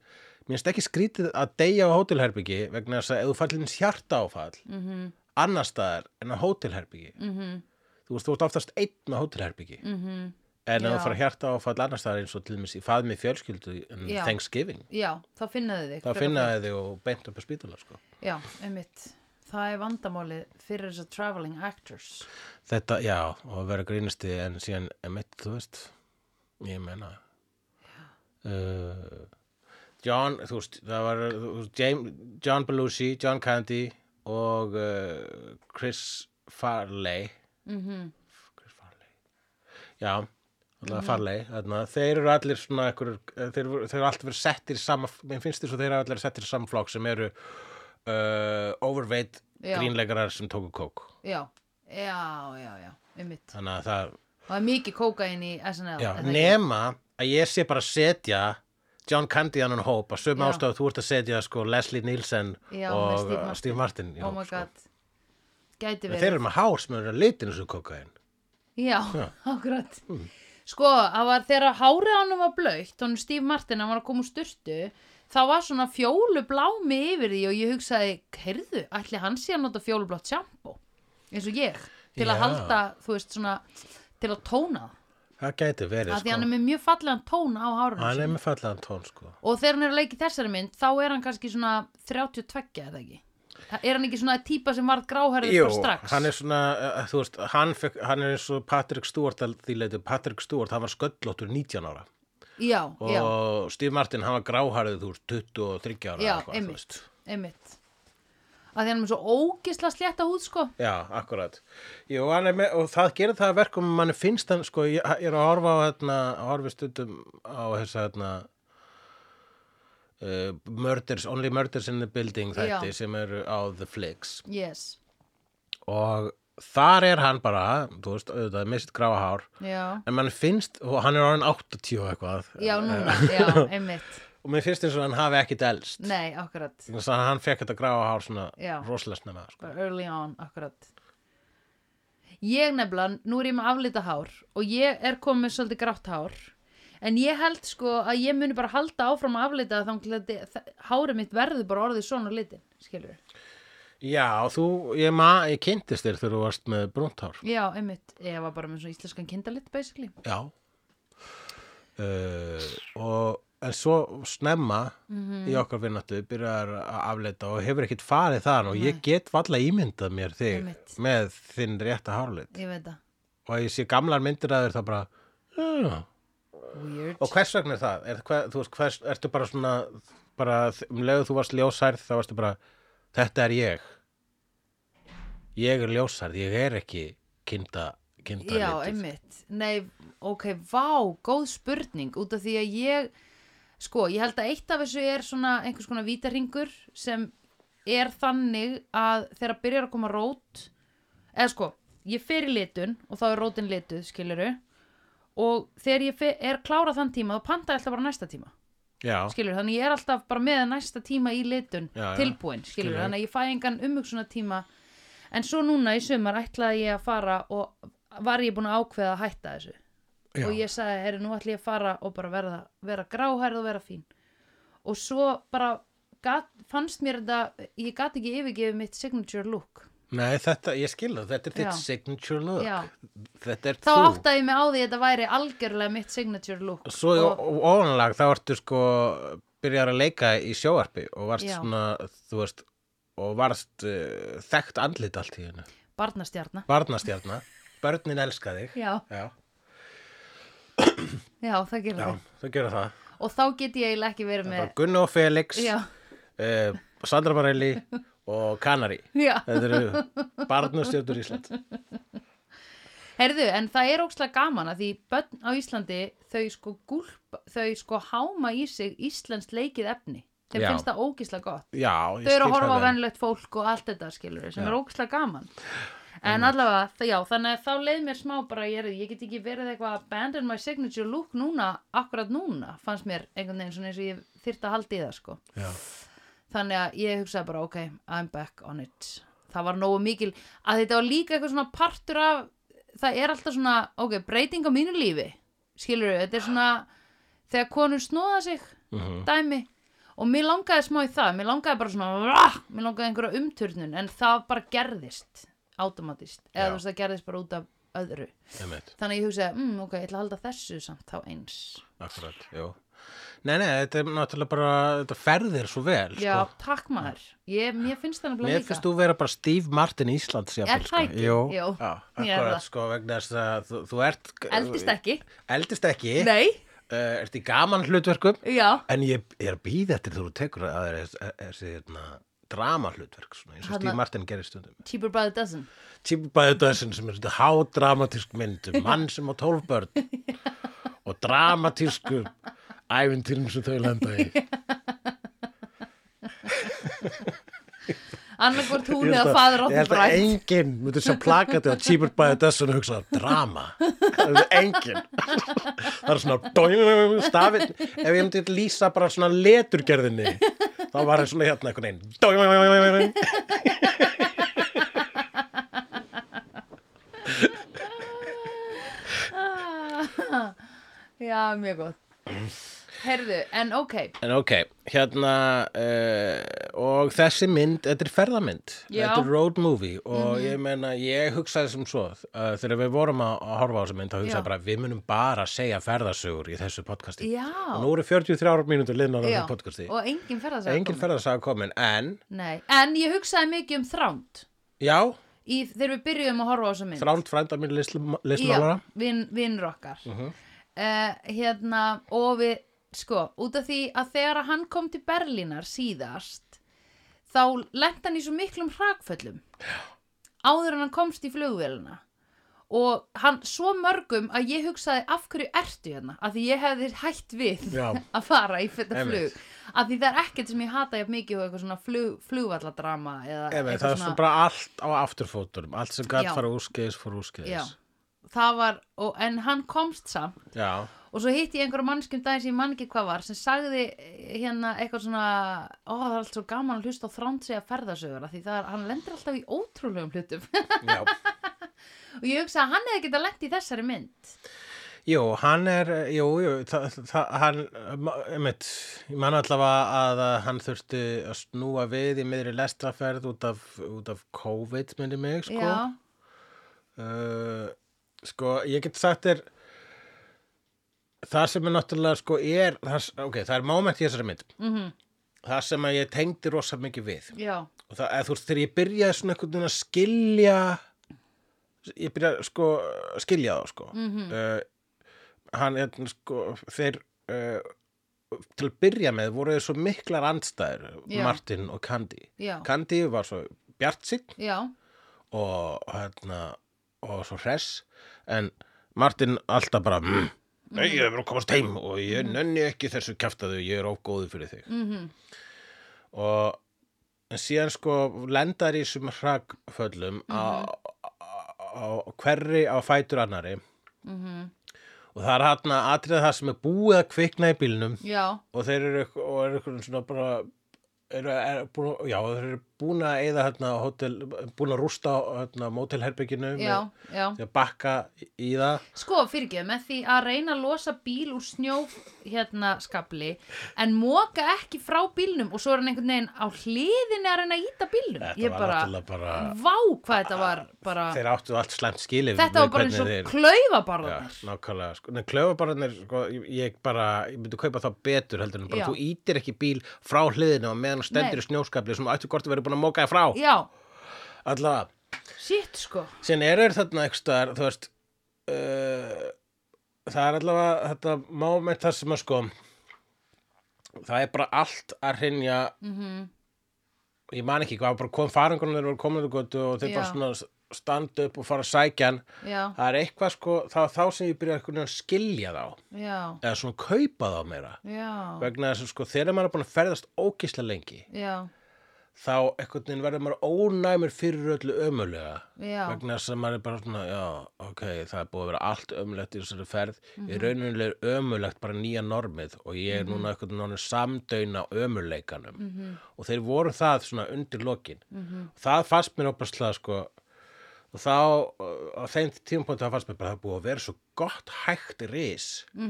A: mér finnst ekki skrítið að deyja á hótelherbyggi vegna þess að ef þú fallins hjarta áfall mm
B: Mhm.
A: -hmm. annars staðar en á hótelherbyggi mm -hmm. þú, veist, þú ert oftast einn á hótelherbyggi mm -hmm. en
B: Mhm.
A: ef
B: Já.
A: þú fara hjarta áfall annars staðar eins og til dæmis í faðmi fjölskyldu um
B: Já.
A: Thanksgiving
B: já, þá finnaði þig
A: þá finnaði þig og beint upp að spítala sko.
B: já, einmitt það er vandamálið fyrir þess að traveling actors
A: þetta, já, og að vera grínusti en síðan emitt, þú veist ég meina uh, John, þú veist það var, þú veist, James, John Belushi John Candy og uh, Chris Farley -hmm. Chris Farley já, alltaf Farley þarna, þeir eru allir svona ekkur, þeir, eru- þeir eru alltaf verið settir í sama, mér finnst þess að þeir eru allir settir í sama flokk sem eru uh, overweight
B: Já.
A: grínleikarar sem tóku kók
B: já, já, já, já, einmitt
A: þannig að það,
B: og það er mikið kókain í SNL
A: já,
B: er það ekki?
A: nema að ég sé bara að setja John Candy í annan hóp að sömu
B: Já.
A: ástöð þú ert að setja sko Leslie Nielsen
B: Já, með
A: og
B: Steve
A: uh,
B: Martin.
A: Steve Martin í
B: oh
A: hóp,
B: my
A: sko.
B: god gæti
A: En
B: verið
A: þeir eru með hár sem eru að litin þessu kokain
B: Já, [LAUGHS] akkurat Sko, það var þegar hárið hann var blautt honum Steve Martin, hann var að koma úr sturtu þá var svona fjólublámi yfir því og ég hugsaði, heyrðu ætli hann sé að nota fjólublátt sjampó eins og ég, til
A: Já.
B: að halda þú veist svona, til að tóna það.
A: það gæti verið
B: af því hann
A: sko.
B: er með mjög fallegan tón á hárinu
A: hann
B: sínu
A: er með fallegan tón sko.
B: og þegar hann er að leika í þessari mynd þá er hann kannski svona 32 eða ekki er hann ekki svona típa sem varð gráhærið
A: Jú,
B: bara strax
A: hann er svona, uh, þú veist, hann, fekk, hann er eins og Patrick Stewart að því leitu, Patrick Stewart, hann var sköllóttur 19 ára
B: já,
A: og
B: já,
A: Steve Martin, hann var gráharðið, þú veist, 23 ára
B: já,
A: eða eitthvað, þú veist.
B: einmitt einmitt að því hann er með svo ógisla slétta húð sko
A: Já, akkurat. Jú, hann er með, og það gerir það að verkum að manni finnst hann, sko, ég, ég er að horfa á hérna, horfi stundum á þessa hérna uh, Murders, Only Murders in the Building þætti
B: Já.
A: sem eru á The Flicks
B: yes,
A: og þar er hann bara, þú veist, auðvitað, með sitt gráa hár
B: já,
A: en mann finnst, og hann er orðin 80 og eitthvað Eh,
B: já
A: [LAUGHS]
B: núna já, einmitt,
A: og mér finnst eins og hann hafi ekkit elst
B: nei, akkurat
A: þannig að hann fekk þetta gráa hár svona
B: Já.
A: rosalega snemma, sko.
B: bara early on, akkurat ég nefnilega, nú er ég með aflita hár og ég er komið svolítið grátt hár en ég held sko að ég muni bara halda áfram að aflita þá hárið mitt verður bara orðið svona litin skilur,
A: Já, þú, ég, ma, ég kynntist þér þegar þú varst með brúnt hár
B: já, einmitt ég var bara með svona íslenskan kindalit basically
A: Já uh, og en svo snemma
B: Mhm.
A: í okkar vinnáttu byrjar að afleita og hefur ekkert farið þar og ég get valla ímyndað mér þig
B: Einmitt.
A: með þinn rétta hárlit
B: ég veit það,
A: og að ég sé gamlar myndir að þér þá bara uh.
B: weird
A: og hvers vegna er það? Er, hver, þú veist, hvers, ertu bara svona bara um leiðu þú varst ljósærð þá varstu bara, þetta er ég ég er ljósærð ég er ekki kinda kinda
B: Já, einmitt. Nei, ok, vá, góð spurning út af því að ég, sko, ég held að eitt af þessu er svona einhvers konar vítaringur sem er þannig að þegar byrjar að koma rót, eða sko, ég fer í litun og þá er rótin lituð, skiluru, og þegar ég fer, er klára þann tíma, þá panta ég alltaf bara næsta tíma
A: Já,
B: skilur, þannig ég er alltaf bara með næsta tíma í litun
A: Já, já.
B: tilbúin, skilur,
A: Skilurðu.
B: þannig að ég fæ engan umhugsunatíma en svo núna í sumar ætlaði ég að fara og var ég búin að ákveða að hætta þessu
A: já,
B: og ég sagði, herri, nú ætla ég að fara og bara verða, vera gráhærð og vera fín og svo bara gat, fannst mér þetta, ég gat ekki yfirgefið mitt signature look
A: Nei, þetta, ég skil það, þetta er
B: Já.
A: þitt signature look
B: Já.
A: Þetta er
B: þá
A: þú
B: áttaði ég mig á því að þetta væri algjörlega mitt signature look
A: Svo
B: og,
A: og... ofanlag þá ertu sko byrjar að leika í sjóvarpi og varst
B: Já.
A: svona, þú veist og varst uh, þekkt andlit allt í hennu
B: barnastjarna
A: Barnastjarna, börnin elska þig
B: já,
A: Já,
B: já, það gerir
A: já,
B: það
A: þú gerir það
B: og þá get ég eiginlega ekki verið
A: Bara
B: með
A: Gunni og Felix
B: já,
A: uh, Sandra Marelli og Kanari
B: já
A: Þetta
B: [LAUGHS]
A: eru barnastjörnur Ísland
B: Herðu, en það er ókslega gaman að því börn á Íslandi, þau sko gúlp, þau sko háma í sig Íslands leikið efni. Þeim
A: Já.
B: finnst það ógislega gott.
A: Já, ég
B: Þau eru
A: skil
B: að horfa á
A: það vel.
B: venlegt fólk og allt þetta skilur sem
A: Já.
B: er ógislega gaman. En allavega, það, já, þannig að þá leið mér smá bara, ég, er, ég get ekki verið eitthvað að abandon my signature look núna, akkurat núna, fannst mér einhvern veginn svona eins og ég þyrfti að haldi í það sko.
A: Já.
B: Þannig að ég hugsaði bara, ok, I'm back on it. Það var nógu mikil, að þetta var líka eitthvað svona partur af, það er alltaf svona, ok, breyting á mínu lífi, skilur við, þetta er svona, þegar konur snóða sig,
A: Mhm.
B: dæmi, og mér langaði smá í það, mér langaði bara svona, rah, mér langaði einhverja umturnun, en það bara gerðist, automatist, eða
A: Já.
B: þú veist, það gerðist bara út af öðru.
A: Einmitt.
B: Þannig að ég hugsaði, mm, ok, ég ætla að halda þessu samt þá eins.
A: Akkurat, jú. Nei, nei, þetta er náttúrulega bara, þetta ferðir svo vel,
B: Já,
A: sko.
B: takk maður, ég, mér finnst það nefnilega
A: Mér
B: líka.
A: finnst þú vera bara Steve Martin Íslands, jafnvel,
B: Er
A: sko.
B: það ekki?
A: Jú,
B: Jú.
A: Já,
B: Ég er
A: akkurat,
B: það.
A: sko, vegna þess að þú, þú ert...
B: Eldist ekki.
A: Eldist ekki.
B: Nei,
A: Uh, ert í gaman hlutverkum.
B: já.
A: En ég er býð eftir þú tekur að það er þessi, hérna, drama hlutverk, svona, eins og
B: Þarna-
A: Steve Martin gerir stundum.
B: Cheaper by the dozen.
A: Tímbæðu döðsinn sem er þetta hádramatísk
B: [LAUGHS]
A: mynd um mann sem á tólf börn og dramatísku æfintýrum sem þau landa í. [LAUGHS]
B: Annarkvort hún
A: Ég held
B: eða
A: að-
B: faður
A: ég
B: átti
A: held að
B: brætt.
A: enginn myndi sjá plakatið á Cheaper by the Dozen og hugsa drama Það er enginn það er svona doing, stafin, ef ég myndi lýsa bara svona leturgerðinni þá var það svona hérna einhvern veginn doing.
B: [LAUGHS] Já, mjög
A: [LAUGHS]
B: gott. Herðu, en ok,
A: en ok, hérna uh, og þessi mynd, þetta er ferðamynd
B: Já. Mhm.
A: þetta er road movie og ég meina, ég hugsaði sem svo uh, þegar við vorum að, að horfa á þessi mynd þá hugsaði
B: Já.
A: bara, við munum bara segja ferðasögur í þessu podcasti
B: já.
A: og nú eru 43 mínútur liðnar á
B: já.
A: þessu podcasti
B: Og engin ferðarsaga
A: engin
B: komin.
A: ferðarsaga komin, en
B: Nei, en ég hugsaði mikið um þránd.
A: já,
B: Í, þegar við byrjuðum að horfa á þessa mynd.
A: þránd frænda mín listmálara
B: Já, vin, vinnur okkar. Uh
A: Mhm.
B: hérna, og við, sko, út af því að þegar að hann kom til Berlínar síðast, þá lent hann í svo miklum hrakföllum. Áður en hann komst í flugvélina. Og hann svo mörgum að ég hugsaði af hverju ertu hérna, af því ég hefði hætt við
A: Já.
B: [LAUGHS] að fara í þetta flug.
A: Einmitt.
B: Af því það er ekkert sem ég hata jafn mikið og eitthvað svona flug, flugvalladrama eða
A: Emi,
B: eitthvað
A: það er svona bara allt á afturfótunum allt sem gætt
B: Já.
A: fara úrskeiðis fór
B: Já,
A: úrskeiðis
B: það var, og, en hann komst samt
A: já,
B: og svo hitti ég einhverjum mannskjum daginn sem ég man ekki hvað var sem sagði eh, hérna eitthvað svona ó það er allt svo gaman að hlusta á þránd segja ferðasögur af því það er, hann lendir alltaf í ótrúlegum hlutum [LAUGHS]
A: já.
B: og ég hugsa að hann hefði getað lent í þessari mynd
A: Jú, hann er, jú, jú, það, það, hann, einmitt, ég man allavega að að hann þurfti að snúa við í miðri lestraferð út af, út af COVID, myndi mig, sko.
B: Já,
A: Uh, sko, ég get sagt þér það sem er náttúrulega sko er, það, s- ok, það er moment í þessari mynd
B: Mhm.
A: það sem að ég tengdi rosa mikið við
B: já,
A: og það, eða, þú veist, þegar ég byrjaði svona einhvern veginn að skilja ég byrjaði sko skilja þá sko
B: Mhm.
A: uh, hann, hérna, sko, þeir uh, til að byrja með voru þeir svo miklar andstæður
B: Já.
A: Martin og Kandi
B: já,
A: Kandi var svo bjartsinn
B: já
A: og hérna og svo hress en Martin alltaf bara mmm, nei, ég er bara að komast heim og ég nenni ekki þessu kjaftaðu, ég er ógóðu fyrir þig
B: mm
A: og en síðan sko lendar í þessum hrakföllum á, á, á hverri á fætur annari
B: mhm,
A: og það er hann að atriða það sem er búið að kvikna í bílnum
B: já,
A: og þeir eru eitthvað- og eru eitthvað svona bara eru, er, búin, já, þeir eru búin að eða hérna hótel, búin að rústa hérna mótelherbygginu
B: já, já.
A: með bakka í það
B: Sko, fyrirgeðu, með því að reyna að losa bíl úr snjó hérna skabli en móka ekki frá bílnum og svo er hann einhvern veginn á hliðinni að reyna að íta bílnum.
A: Þetta
B: Ég
A: var
B: bara,
A: náttúrulega bara-
B: vá hvað þetta var bara,
A: þeir áttu allt slæmt skilið
B: þetta var
A: með
B: bara
A: hvernig
B: eins og
A: þeir- Já,
B: klaufabarðar.
A: nákvæmlega, sko, en klöfabarnir sko, ég- ég bara, ég myndi kaupa það betur heldur en bara,
B: Já.
A: þú ítir ekki bíl frá hliðinu og meðan þú stendur
B: Nei.
A: í snjóskapli sem þú ættu hvort að vera búin að móka þér frá
B: Já,
A: allavega,
B: shit sko.
A: síðan eru þeir þarna einhvers staðar, þú veist uh, það er allavega þetta moment þar sem að sko það er bara allt að hrynja
B: Mhm.
A: ég man ekki hvað, bara kom farangunum þeir voru komin úr götu og þeir
B: Já.
A: bara svona standa upp og fara að sækja hann
B: Já,
A: það er eitthvað sko, það var þá sem ég byrja að skilja þá
B: já,
A: eða svona kaupa þá meira
B: já,
A: vegna þess að sko þegar maður er búin að ferðast ógislega lengi
B: já,
A: þá einhvern veginn verður maður ónæmur fyrir öllu ömulega
B: já,
A: vegna þess að maður er bara svona já, ok, það er búið að vera allt ömulegt í þessari ferð, í rauninlega er ömulegt bara nýja normið og ég er núna einhvern veginn orðinn samdaun á ömuleikanum og þeir voru það svona undir lokin og það fannst mér opaslega sko og þá uh, á þeim tímpóti það fannst mér bara að það er búið að vera svo gott hægt ris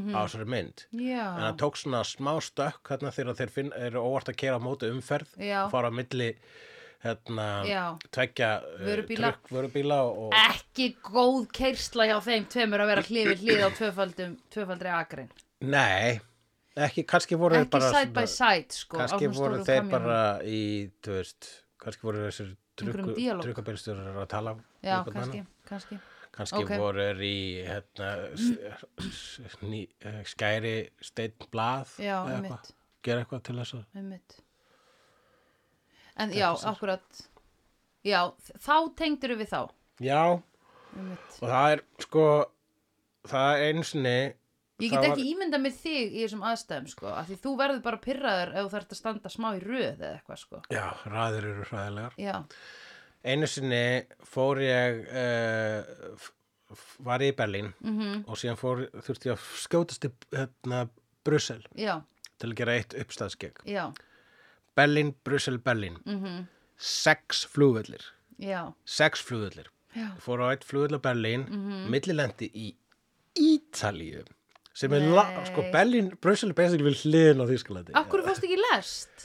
A: á þessari mynd en
B: já,
A: það tók svona smá stökk hérna þegar þeir finn, eru óvart að kera á móti umferð
B: Já.
A: og fara á milli hérna,
B: Já.
A: tveggja uh,
B: Vörubíla.
A: trukk, vörubíla og,
B: ekki góð keirsla hjá þeim tveimur að vera hlifið hlið á tvöfaldum, tvöfaldri agrin.
A: nei, ekki, kannski voru þeir
B: Ekki
A: bara
B: side by side sko. á
A: kannski
B: svona
A: voru
B: stórum
A: þeir
B: kamjónum.
A: bara í, þú veist kannski voru þessir
B: Einhverjum díalóg.
A: trukkabílstjórar að tala við
B: Já,
A: hvern
B: kannski,
A: annan.
B: kannski.
A: kannski
B: Ok.
A: voru þeir í hérna, s- s- s- ný, eh, skæri steinn blað
B: Já,
A: eða eitthvað.
B: einmitt.
A: gera eitthvað til þess að
B: einmitt en já, akkurat já, þ- þá tengdur við þá
A: já,
B: einmitt.
A: og það er sko það er einu sinni
B: ég
A: Það
B: get
A: var-
B: ekki ímyndað mér þig í þessum aðstæðum sko, af því þú verður bara pyrraður ef þú þarft að standa smá í röð eða eitthvað sko
A: já, ræður eru hræðilegar
B: já,
A: einu sinni fór ég uh, var ég í Berlín
B: mhm,
A: og síðan fór, þurfti ég að skjótast til hérna, Brussel
B: já,
A: til að gera eitt uppstæðskegg
B: já
A: Berlín, Brussel, Berlín
B: mhm,
A: sex flugvellir,
B: já,
A: sex flugvellir
B: já
A: ég fór á eitt flugvöll á Berlín millilendi í Ítalíu sem er, la,
B: Nei.
A: sko, Berlín, Brussel er basically við hliðin á Þýskalandi
B: af hverju fórstu ekki lest?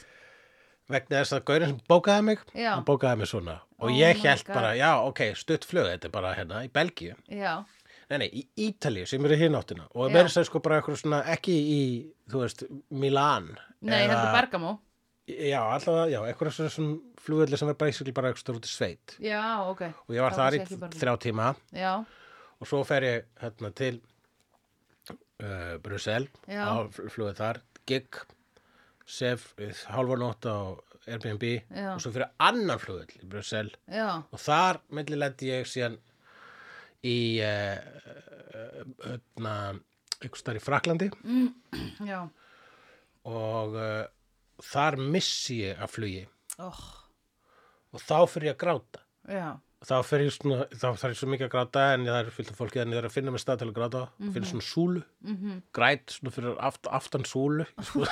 A: vegna þess að gaurinn sem bókaði mig
B: Já.
A: hann bókaði mig svona og
B: Oh
A: ég
B: my
A: held
B: God.
A: bara, já ok, stutt flug þetta er bara hérna í Belgíu
B: já,
A: nei, nei, í Ítalíu sem eru hinn áttina og
B: Já.
A: mér er það sko bara eitthvað svona ekki í, þú veist, Milán
B: nei, heldur Bergamo
A: já, allavega, já, eitthvað svona, svona flugvelli sem er bara, basically bara eitthvað út í sveit
B: já, ok,
A: og ég var
B: Þá
A: þar í
B: kannski ekki Berlín.
A: þrjá tíma
B: já,
A: og svo fer ég hérna til uh, Brussel
B: Já.
A: á flugið þar, gig sef hálfanótt á Airbnb
B: Já.
A: og svo fyrir annan flugvöll í Brussel
B: já,
A: og þar millilendi ég síðan í eh, eh, öðna, einhvers staðar í Fraklandi
B: Mm. já
A: og uh, þar missi ég að flugi
B: oh,
A: og þá fyrir ég að gráta
B: já,
A: þá fyrir ég svona, þá þarf ég svo mikið að gráta en það er fyllt af fólki en ég þarf að finna mér stað til að gráta mm -hmm.
B: Mhm.
A: svona súlu, -hmm. græt svona fyrir aft, aftan
B: [LAUGHS]
A: súlu sko.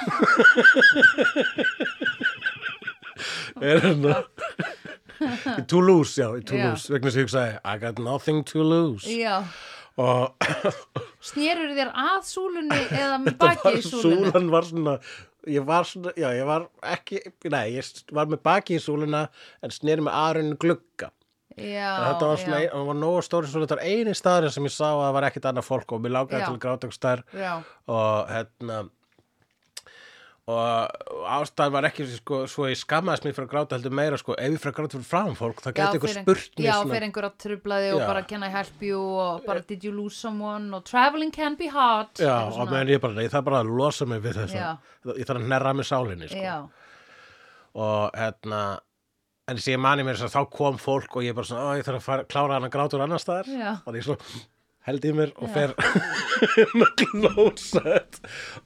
A: er hérna í Toulouse, já, í Toulouse vegna þess að ég hugsaði, I got nothing to lose
B: já
A: og
B: snerur þér að súlunni eða með
A: [LAUGHS] Þetta var-
B: baki í súlunni
A: súlan var svona ég var svona, já ég var ekki nei, ég s- var með baki í súluna en sneri með aðrunni glugga
B: já,
A: En þetta var
B: já.
A: svona, ein- hann var nógu stóri svo þetta var eini staðurinn sem ég sá að það var ekkit annað fólk og mér lákaði
B: Já.
A: til grátökstær
B: Já,
A: og hérna og ástæðan var ekki sko, svo ég skammaðist mér fyrir að gráta heldur meira sko, ef ég fyrir að gráta fyrir fram fólk það
B: já,
A: gæti ykkur
B: fyrir-
A: spurt mér
B: já
A: svona-
B: fyrir einhver að trubla þig og
A: Já.
B: bara can I help you og bara did you lose someone og traveling can be hard
A: já,
B: eitthvað
A: og
B: svona.
A: meðan ég bara, nei, það er bara að losa mig við þess
B: Já.
A: ég þarf að hnerra með sálinni sko.
B: já,
A: og hérna en þess að ég mani mér þess að þá kom fólk og ég bara svona, "Ó, ég þarf að fara, klára hann að gráta úr annar staðar
B: Já.
A: og ég svona held í mér og fer [LAUGHS] inn á klósett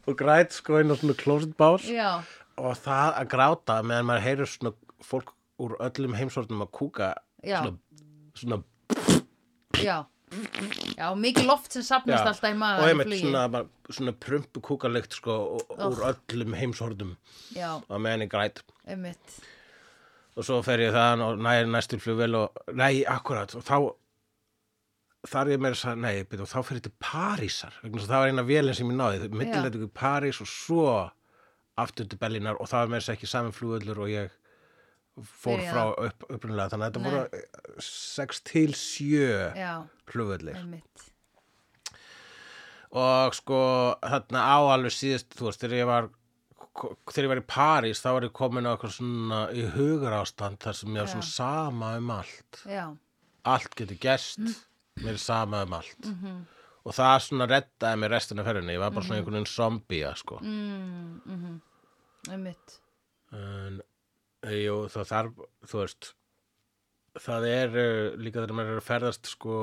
A: og græt sko inn á svona klósettbás
B: já,
A: og það að gráta meðan maður heyrir svona fólk úr öllum heimsortum að kúka
B: Já.
A: svona, svona
B: já já, og mikið loft sem sapnast alltaf í
A: og
B: maður
A: einmitt svona, bara svona prumpu kúkalikt sko úr öllum heimsortum
B: já,
A: og meðan ég græt
B: einmitt
A: og svo fer ég þaðan og næ næstur flugvél og nei, akkurat og þá þar ég meira að sagði, nei, byrja, og þá fer ég til Parísar vegna þess að það var eina vélinn sem ég náði mittlættu í París og svo aftur til Berlínar og það var meira að segja ekki saman flugvöllur og ég fór
B: Byrjaði.
A: frá upp, upprunalega þannig
B: Nei.
A: að þetta voru 6 til 7
B: já,
A: flugvöllir
B: einmitt
A: og sko þarna á alveg síðust þú veist, þegar ég var þegar ég var í París þá var ég komin á eitthvað svona í hugarástand þar sem ég var svona sama um allt
B: já,
A: allt getur gerst mér er sama um allt og það svona reddaði mér restina af ferðinni ég var bara svona einhvern veginn zombía sko
B: mm, mm einmitt
A: en eh, jú, það þarf þú veist það er uh, líka þegar maður er að ferðast sko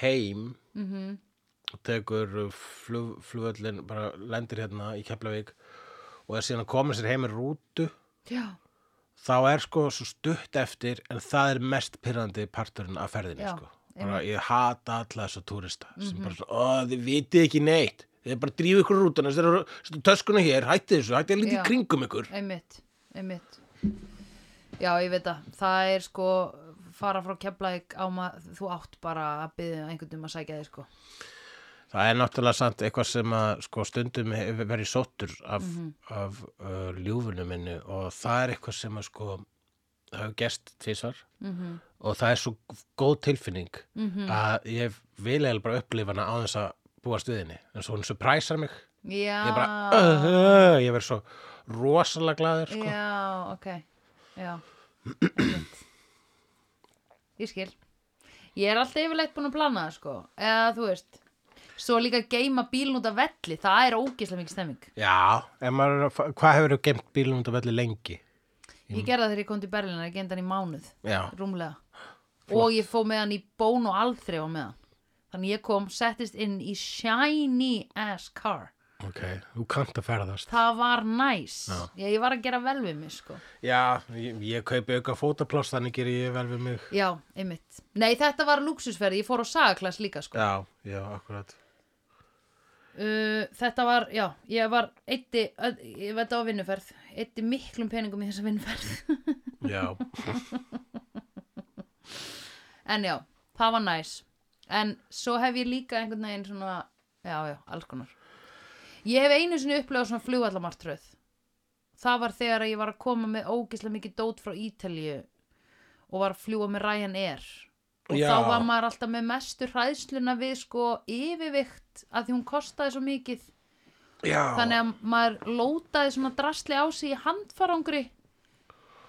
A: heim
B: mm -hmm.
A: og tekur uh, flug, flugvöllin bara lendir hérna í Keflavík og er síðan að koma sér heim í rútu
B: já,
A: þá er sko svo stutt eftir en það er mest pyrrandi parturinn af ferðinni
B: Já, Mhm.
A: sko. bara ég hata alla þessa túrista sem bara svona, ó þið vitið ekki neitt þið bara drífið ykkur rútana þess eru töskuna hér, hætti þessu, hætti að lítið
B: Já.
A: í kringum ykkur
B: einmitt einmitt já, ég veit það, það er sko fara frá Keflæk á maður þú átt bara að byggja einhvern um að sækja þig sko
A: það er náttúrulega samt eitthvað sem að sko stundum hefur verið sóttur af, af uh, ljúfunum minni og það er eitthvað sem að sko það hefur gerst tvisvar
B: mm -hmm.
A: og það er svo góð tilfinning að ég vil eða bara upplifa hana á þess að búa stuðinni en svo hún surpræsar mig
B: já,
A: ég bara, uh, uh, ég verð svo rosalega glaður sko.
B: já, ok já, einmitt ég skil ég er alltaf yfirleitt búin að plana það sko eða þú veist svo líka geima bílun út af velli það er ógislega mikið stemming
A: já, en maður, er að fa- hvað hefur þú gemt bílum út af velli lengi
B: ég gerði það þegar ég kom til Berlín að genda hann í mánuð
A: já,
B: rúmlega og ég fó með hann í bón og alþrjá með hann þannig ég kom, settist inn í shiny ass car
A: ok, þú kannt að ferðast
B: það var næs já. ég var að gera vel við mig sko
A: já, ég, ég kaupi auka fótapláss þannig ger ég vel við mig
B: já, einmitt, nei þetta var lúksusferð ég fór á sagaklass líka sko
A: já, já, akkurat
B: uh, þetta var, já, ég var eitti, ég veit á vinnuferð eitti miklum peningum í þessa vinnuferð [LAUGHS]
A: já,
B: en já, það var næs en svo hef ég líka einhvern veginn svona já, já, alls konar ég hef einu sinni upplegað svona flugvallamartröð það var þegar ég var að koma með ógislega mikið dót frá Ítalíu og var að fljúa með Ryanair og
A: Já.
B: þá var maður alltaf með mestu hræðsluna við sko yfirvikt að því hún kostaði svo mikið
A: já
B: þannig að maður lótaði svona drasli á sig í handfarangri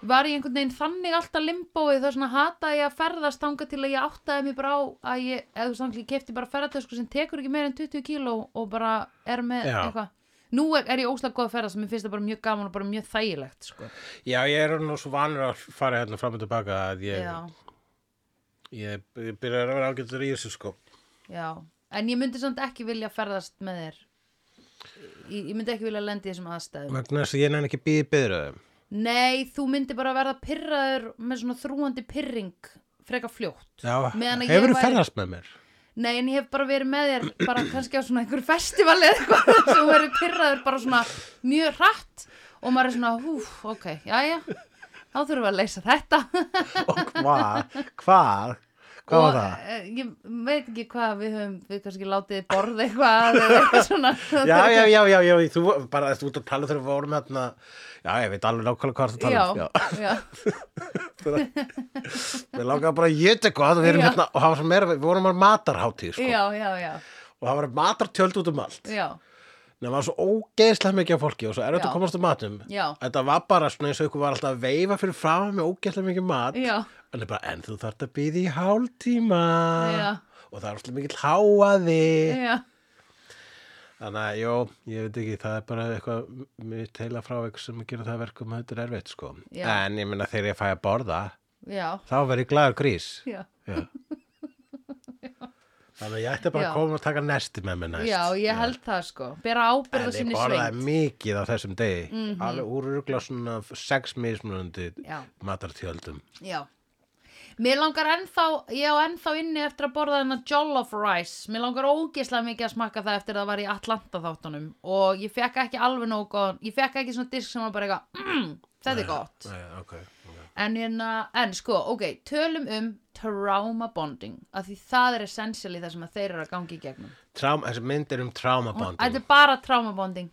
B: var ég einhvern veginn þannig alltaf limbóið þar svona hataði ég að ferðast þangað til að ég áttaði mér bara á að ég, eða þú samtlík, kefti bara ferðartösku sem tekur ekki meira en 20 kíló og bara er með
A: Já.
B: eitthvað nú er, er ég óslag góð að ferðast, mér finnst það bara mjög gaman og bara mjög þægilegt sko.
A: já, ég er nú svo vanur að fara hérna fram og tilbaka að ég,
B: já,
A: ég, ég byrja að vera ágættur í þessu sko
B: já, en ég myndi samt ekki vilja ferðast með þér ég, ég myndi ekki vilja lendi þessum aðstæðum
A: vegna þess að ég nefn ekki býði byrðröðum
B: nei, þú myndi bara verða pyrraður með svona þrúandi pyrring frekar fljótt
A: já,
B: Meðan að ég
A: hefur þú
B: væri-
A: ferðast með
B: [LAUGHS]
A: mér?
B: Nei, en ég hef bara verið með þér bara kannski á svona einhverju festivali eða eitthvað [LAUGHS] sem verið pyrraður bara svona mjög hratt og maður er svona húf, ok, jæja, þá þurfum við að leysa þetta
A: og hvað, hvað hvað var
B: og,
A: það?
B: eh, Ég veit ekki hvað við höfum, við kannski látið borð eitthvað eða eitthvað svona
A: [LAUGHS] já,
B: [LAUGHS]
A: já, já, já, já, þú bara þú ert að tala þegar við vorum hérna já, ég veit alveg nákvæmlega hvað það tala um,
B: já, [LAUGHS] já,
A: við langaðum bara að geta eitthvað við erum
B: Já.
A: hérna, og það var svo meira, við vorum á matarhátíð sko,
B: já, já, já,
A: og það var matartjöld út um allt
B: já,
A: en það var svo ógeðslega mikið af fólki og svo er þetta
B: Já.
A: að komast um matum
B: Já.
A: þetta var bara svona eins og ykkur var alltaf að veifa fyrir fram með ógeðslega mikið mat
B: já,
A: en, það er bara, en þú þarft að býða í hálftíma
B: Já.
A: og það er alltaf mikill háaði
B: já,
A: Þannig að, jú, ég veit ekki, það er bara eitthvað, mér teila frá eitthvað sem gerir það að verkum að þetta er erfitt, sko.
B: Já.
A: En ég meina þegar ég fæ að borða,
B: já,
A: þá verð ég glaður grís.
B: já.
A: Já.
B: [LAUGHS]
A: Þannig að ég ætti bara
B: Já.
A: að koma og taka nesti með mér næst.
B: Já, ég held það sko, bera ábyrða
A: En ég
B: sinni
A: borðaði
B: sveit
A: mikið á þessum degi, alveg úrugla svona sex mismunandi
B: Já.
A: matartjöldum.
B: Já Mér langar ennþá, ég á ennþá inni eftir að borða þennan Jollof Rice Mér langar ógeðslega mikið að smakka það eftir að það var í Atlanta þáttunum og ég fekk ekki alveg nóg góðan, ég fekk ekki svona disk sem var bara eitthvað, mmm, "Mm, þetta er gott
A: Nei, Eh, ok, ok.
B: En, hérna, en sko, ok, tölum um trauma bonding, af því það er essentially það sem að þeir eru að gangi í gegnum.
A: Trám, þessi mynd er um trauma
B: Þetta
A: bonding
B: er bara trauma bonding.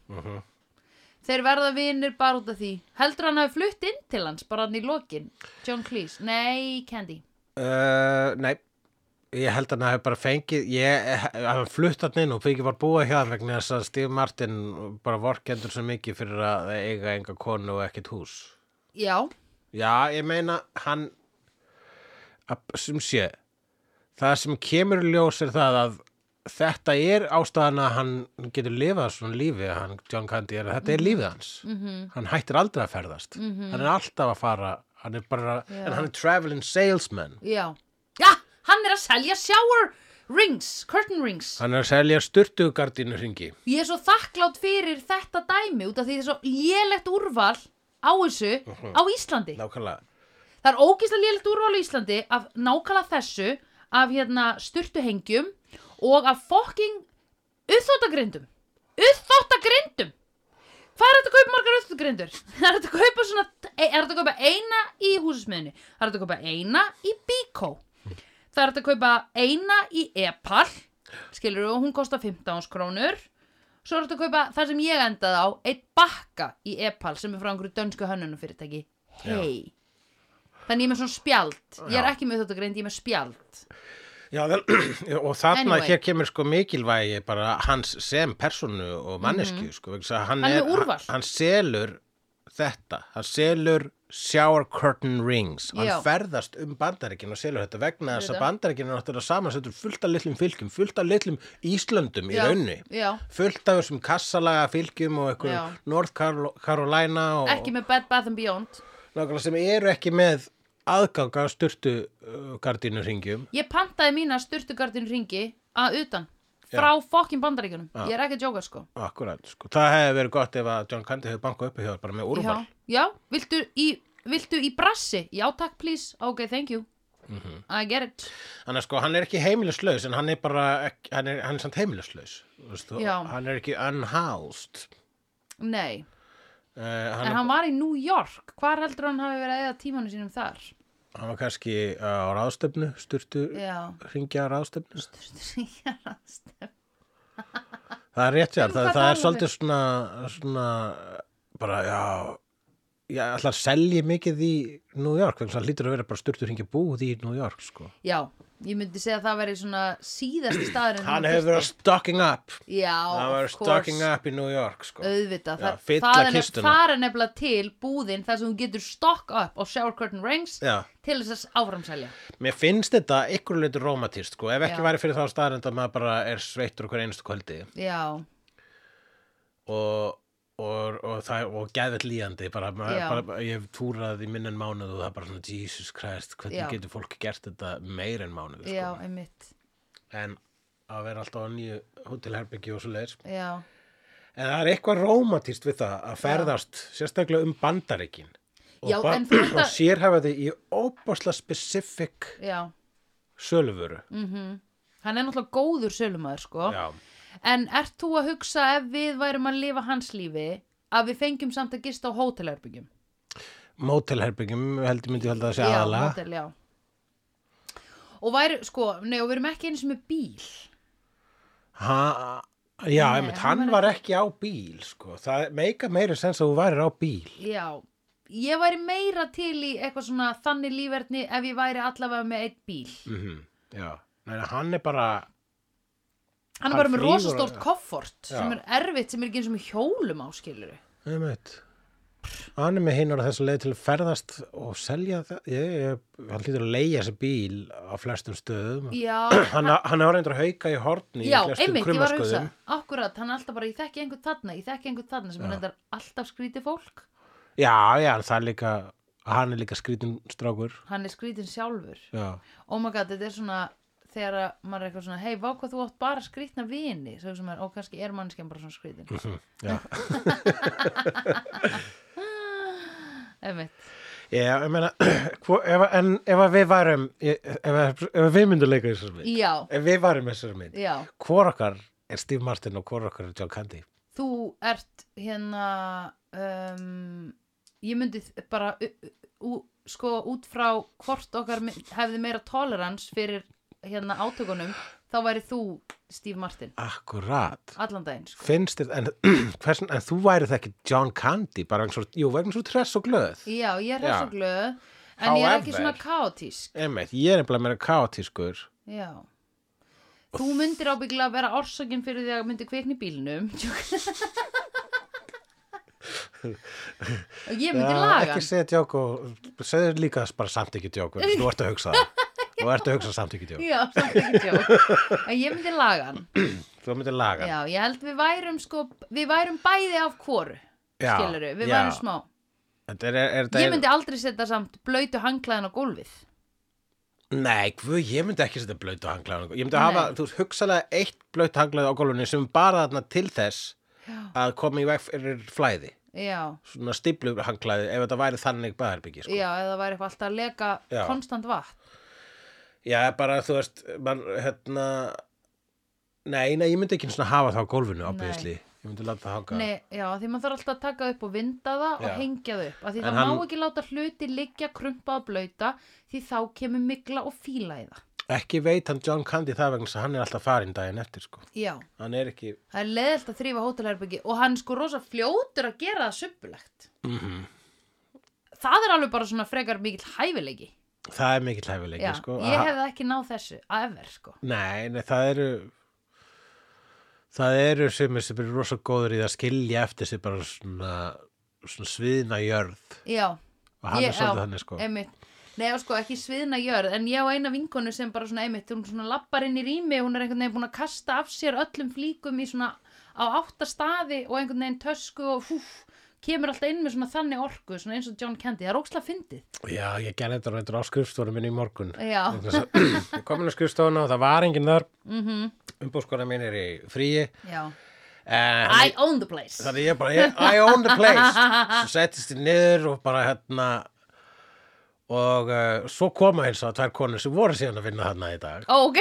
B: Þeir verða vinir bara út af því. Heldur hann hafi flutt inn til hans, bara hann í lokin, John Cleese. Nei, Candy.
A: uh, Nei, ég held að hann hafi bara fengið ég hafi flutt hann inn og fengið bara búa hjá hann vegna þess að Steve Martin bara vorkendur svo mikið fyrir að eiga enga konu og ekkert hús
B: Já,
A: Já, ég meina hann að, sem sé það sem kemur í ljós er það að þetta er ástæðan að hann getur lifað svona lífi hann, John Candy, er að þetta er lífið hans -hmm. hann hættir aldrei að ferðast -hmm. hann er alltaf að fara hann er bara,
B: Já.
A: en hann er traveling salesman
B: já. Já, hann er að selja shower rings, curtain rings.
A: hann er að selja styrtugardínu hringi
B: Ég er svo þakklátt fyrir þetta dæmi út af því það er svo lélegt úrval á þessu á Íslandi.
A: nákvæmlega,
B: Það er ógeðslega lélegt úrval á Íslandi af nákvæmlega þessu af hérna styrtuhengjum og af fokking uþóttagrindum. Uþóttagrindum! Hvað er þetta að kaupa margar uþóttagrindur? Það [LAUGHS] er þetta að kaupa svona, er þetta að kaupa eina í húsismiðinu? Það er þetta að kaupa eina í Bíkó. Það er þetta að kaupa eina í Epal, skilur og hún kostar 15 krónur. Svo er þetta að kaupa það sem ég endaði á, eitt bakka í Epal sem er frá einhverju dönsku hönnunafyrirtæki. Hei! Þannig ég er með svona spjald Ég er
A: Já.
B: ekki með þetta greind, ég er með spjald
A: Já, vel, [CLEARS THROAT] og þarna
B: Anyway.
A: hér kemur sko mikilvægi bara hans sem personu og mannesku sko, vegna þess að hann,
B: Mhm. Hann er
A: er,
B: með úrval.
A: hann selur þetta, hann selur shower curtain rings hann
B: Já.
A: ferðast um bandaríkinn og selur þetta vegna þess að
B: Auðvitað.
A: bandaríkinn er náttúrulega samansettur fullt af litlum fylgjum, fullt af litlum Íslöndum í raunni,
B: Já,
A: fullt af þessum kassalaga fylgjum og
B: Já.
A: einhverjum North Carol- Carolina og
B: ekki með Bed Bath and Beyond
A: nákvæmlega sem eru ekki með aðganga styrtu gardínu ringjum
B: Ég pantaði mína styrtugardin ringi að utan, frá fokkin bandaríkjunum Ég er ekki að jóka sko
A: Akkurat, sko. það hefði verið gott ef að John Candy hefði bankað upp í hjá bara með
B: Já,
A: úrval.
B: já viltu, í, viltu í brassi? Já, takk, please, ok, thank you
A: Mhm.
B: I get it
A: Þannig að sko, hann er ekki heimilislaus en hann er bara, ekki, hann, er, hann er samt heimilislaus. Veistu?
B: Já.
A: Hann er ekki unhoused.
B: Nei,
A: Uh, hann,
B: en
A: hann,
B: hann var í New York Hvar heldur hann hafi verið að eða tímanu sínum þar?
A: var kannski á ráðstefnu, styrtu,
B: Já [LAUGHS]
A: hringja á ráðstefnu.
B: Sturtu
A: Það er rétt sér,
B: Um
A: það,
B: hvað
A: það er
B: talar
A: svolítið svona, svona, bara já, já, ætla að selja mikið í New York, þannig að það lítur að vera bara styrtu hringja búð í New York, sko.
B: Já, ég myndi segja að það verið svona síðasti staðurinn sem
A: Hann
B: hann
A: hefur verið að
B: þurfti.
A: stocking up.
B: Já,
A: hann var
B: of course.
A: stocking up í New York, sko.
B: auðvitað,
A: Já,
B: það,
A: fylla
B: það, er nefn,
A: kistuna.
B: það er nefnilega til búðin þar sem þú getur stock up á shower curtain rings
A: Já.
B: til þess að áframselja
A: Mér finnst þetta ykkur leitur rómatist sko, ef ekki
B: Já.
A: væri fyrir þá staðarind að maður bara er sveittur okkur einustu kvöldi
B: já,
A: og, og, og, það, og geðvett líjandi, bara, maður,
B: Já.
A: bara ég hef túrað í minn en mánuð og það er bara svona Jesus Christ, hvernig
B: Já.
A: getur fólk gert þetta meir en mánuð
B: já,
A: sko.
B: einmitt
A: en að vera alltaf á nýju hótelherbyggi og svo leiðis
B: já,
A: en það er eitthvað rómatist við það að ferðast sérstaklega um bandaríkin og,
B: Já, en þú ert
A: og
B: að-
A: sérhafa því í óbásla specific
B: já
A: söluvöru
B: Mm. hann er náttúrulega góður sölumæður sko
A: Já,
B: en ert þú að hugsa ef við værum að lifa hans lífi að við fengjum samt að gista á hótelherbyggjum
A: mótelherbyggjum heldur myndi ég held að það sé
B: já,
A: aðalega
B: hótel, já og væri, sko, nei, og við erum ekki eins með bíl
A: Ha, já,
B: Nei,
A: einmitt,
B: hann
A: hann
B: var
A: var ekki á bíl, sko. Það meika meira sens að þú værir á bíl.
B: Já, ég væri meira til í eitthvað svona þannig lífverðni ef ég væri allavega með eitt bíl.
A: Mm -hmm. Já, Nei, hann er bara,
B: Hann
A: Hann
B: er bara með
A: flýgur-
B: rosastórt koffort sem er
A: Já.
B: erfitt, sem er ekki eins og með hjólum áskiluru.
A: [CLEARS THROAT] einmitt, hann er með hinnur á þessu leið til að ferðast og selja það. Ég, ég, hann hlýtur að leiða þessi bíl á flestum stöðum.
B: Já,
A: Hann, hann er reyndur að hauka í horni
B: já,
A: í flestum
B: einmitt, ég var að hugsa,
A: krummasköðum.
B: akkurat, hann er alltaf bara, ég þekki einhvern þarna, ég þekki einhvern þarna sem hann endar alltaf skrítið fólk.
A: Já, já, en það er líka, hann er líka skrítin strákur.
B: Hann er skrítin sjálfur.
A: Já,
B: Oh my god, þetta er svona, þegar að maður er eitthvað svona, hei, vá hvað þú átt bara skrítna vini, svo sem er, ó, kannski er mannskjæm bara svona skrítin.
A: Mhm, já.
B: [LAUGHS] Einmitt.
A: Já, ég meina, [CLEARS THROAT] hvo- ef, að- en ef að við varum, ég- ef, að- ef að við myndum leika í þessar mynd,
B: Já,
A: ef við varum í þessar mynd,
B: já.
A: hvor okkar er Steve Martin og hvor okkar er John Candy?
B: þú ert hérna um, ég myndi þ- bara u- u- u- sko út frá hvort okkar mi- hefði meira tolerance fyrir hérna átökunum þá væri þú Steve Martin
A: Akkurat.
B: allan daginn sko.
A: Finnst þér, en, [CLEARS THROAT] hversin, en þú værið það ekki John Candy, bara eins og, jú, vegna svo tress og glöð.
B: já, ég er
A: Já.
B: hress og glöð en ég er ekki
A: However-
B: svona kaotísk
A: Einmitt, ég er nefnilega meira kaotískur.
B: já Þú myndir ábyggla að vera orsakinn fyrir því að myndi kvikni í bílnum
A: [LAUGHS]
B: og ég myndi laga
A: Ekki
B: hann.
A: segja djók og segja líka bara samt ekki djók, vegna þess að þú ert að hugsa
B: [LAUGHS]
A: það. Þú ert að hugsa samt ekki djók.
B: Já, samt ekki tjók. En ég myndi laga hann.
A: Þú myndir laga. hann.
B: Já, ég held við værum sko, við værum bæði af hvoru,
A: Já,
B: skilur við,
A: já.
B: værum smá.
A: Þetta Er, er, er,
B: Ég myndi aldrei setja samt blöytu hanglaðin á gólfið.
A: Nei, guð, ég myndi ekki setja blötu hanglaðan. Ég myndi
B: Nei.
A: hafa, þú veist, hugsalega eitt blötu hanglaði á gólunni sem bara þarna til þess að koma í veg fyrir flæði.
B: Já,
A: Svona stíplu hanglaði, ef þetta væri þannig baðherbyggi, sko.
B: já, eða væri eitthvað alltaf að leka
A: Já.
B: konstant vatn.
A: Já, bara, þú veist, mann, hérna, nei, nei, ég myndi ekki svona hafa það á gólfinu, ábyggisli. Ég myndi láta það hanga.
B: Nei, já, því maður þarf alltaf að taka upp og vinda það
A: Já.
B: og hengja það upp. Af Því
A: En
B: það
A: hann-
B: má ekki láta hluti liggja krumpað og blöyta því þá kemur mikla og fíla í það.
A: Ekki veit hann John Candy það vegna þess að hann er alltaf farinn daginn eftir, sko.
B: Já,
A: Hann er ekki,
B: það er leðilt að þrýfa hótelherbyggi og hann er sko rosa fljótur að gera það söpulegt. Það er alveg bara svona frekar mikill hæfileiki.
A: það er mikill hæfileiki,
B: Já,
A: sko.
B: ég
A: Að-
B: hefði ekki náð þessu, ever sko.
A: Nei, nei, það eru það eru sumir sem eru rosa góður í að skilja eftir sér bara svona, svona sviðna jörð
B: Já,
A: og hann
B: Ég-
A: er svolítið
B: já,
A: þannig sko
B: einmitt. Nei, og sko, ekki sviðna jörð, en ég á eina vinkonu sem bara svona einmitt, hún svona lappar inn í rými, hún er einhvern veginn búin að kasta af sér öllum flíkum í svona á átta staði og einhvern veginn tösku og húf, kemur alltaf inn með svona þannig orku, svona eins og John Candy, það er ókslega fyndið.
A: Já, ég gerði þetta reyndur á skrifstofunum minni í morgun
B: Já,
A: Vegna þess að- [CLEARS THROAT] ég kom inn á skrifstofuna og það var enginn þar mm
B: Mhm.
A: -hmm. umbúrskona mín er í fríi
B: já.
A: en
B: I own the place.
A: þannig ég bara, ég, I own the place svo settist ég niður og bara hérna og uh, svo koma eins og tvær konur sem voru síðan að vinna þarna í dag
B: Ó, [LAUGHS] ok.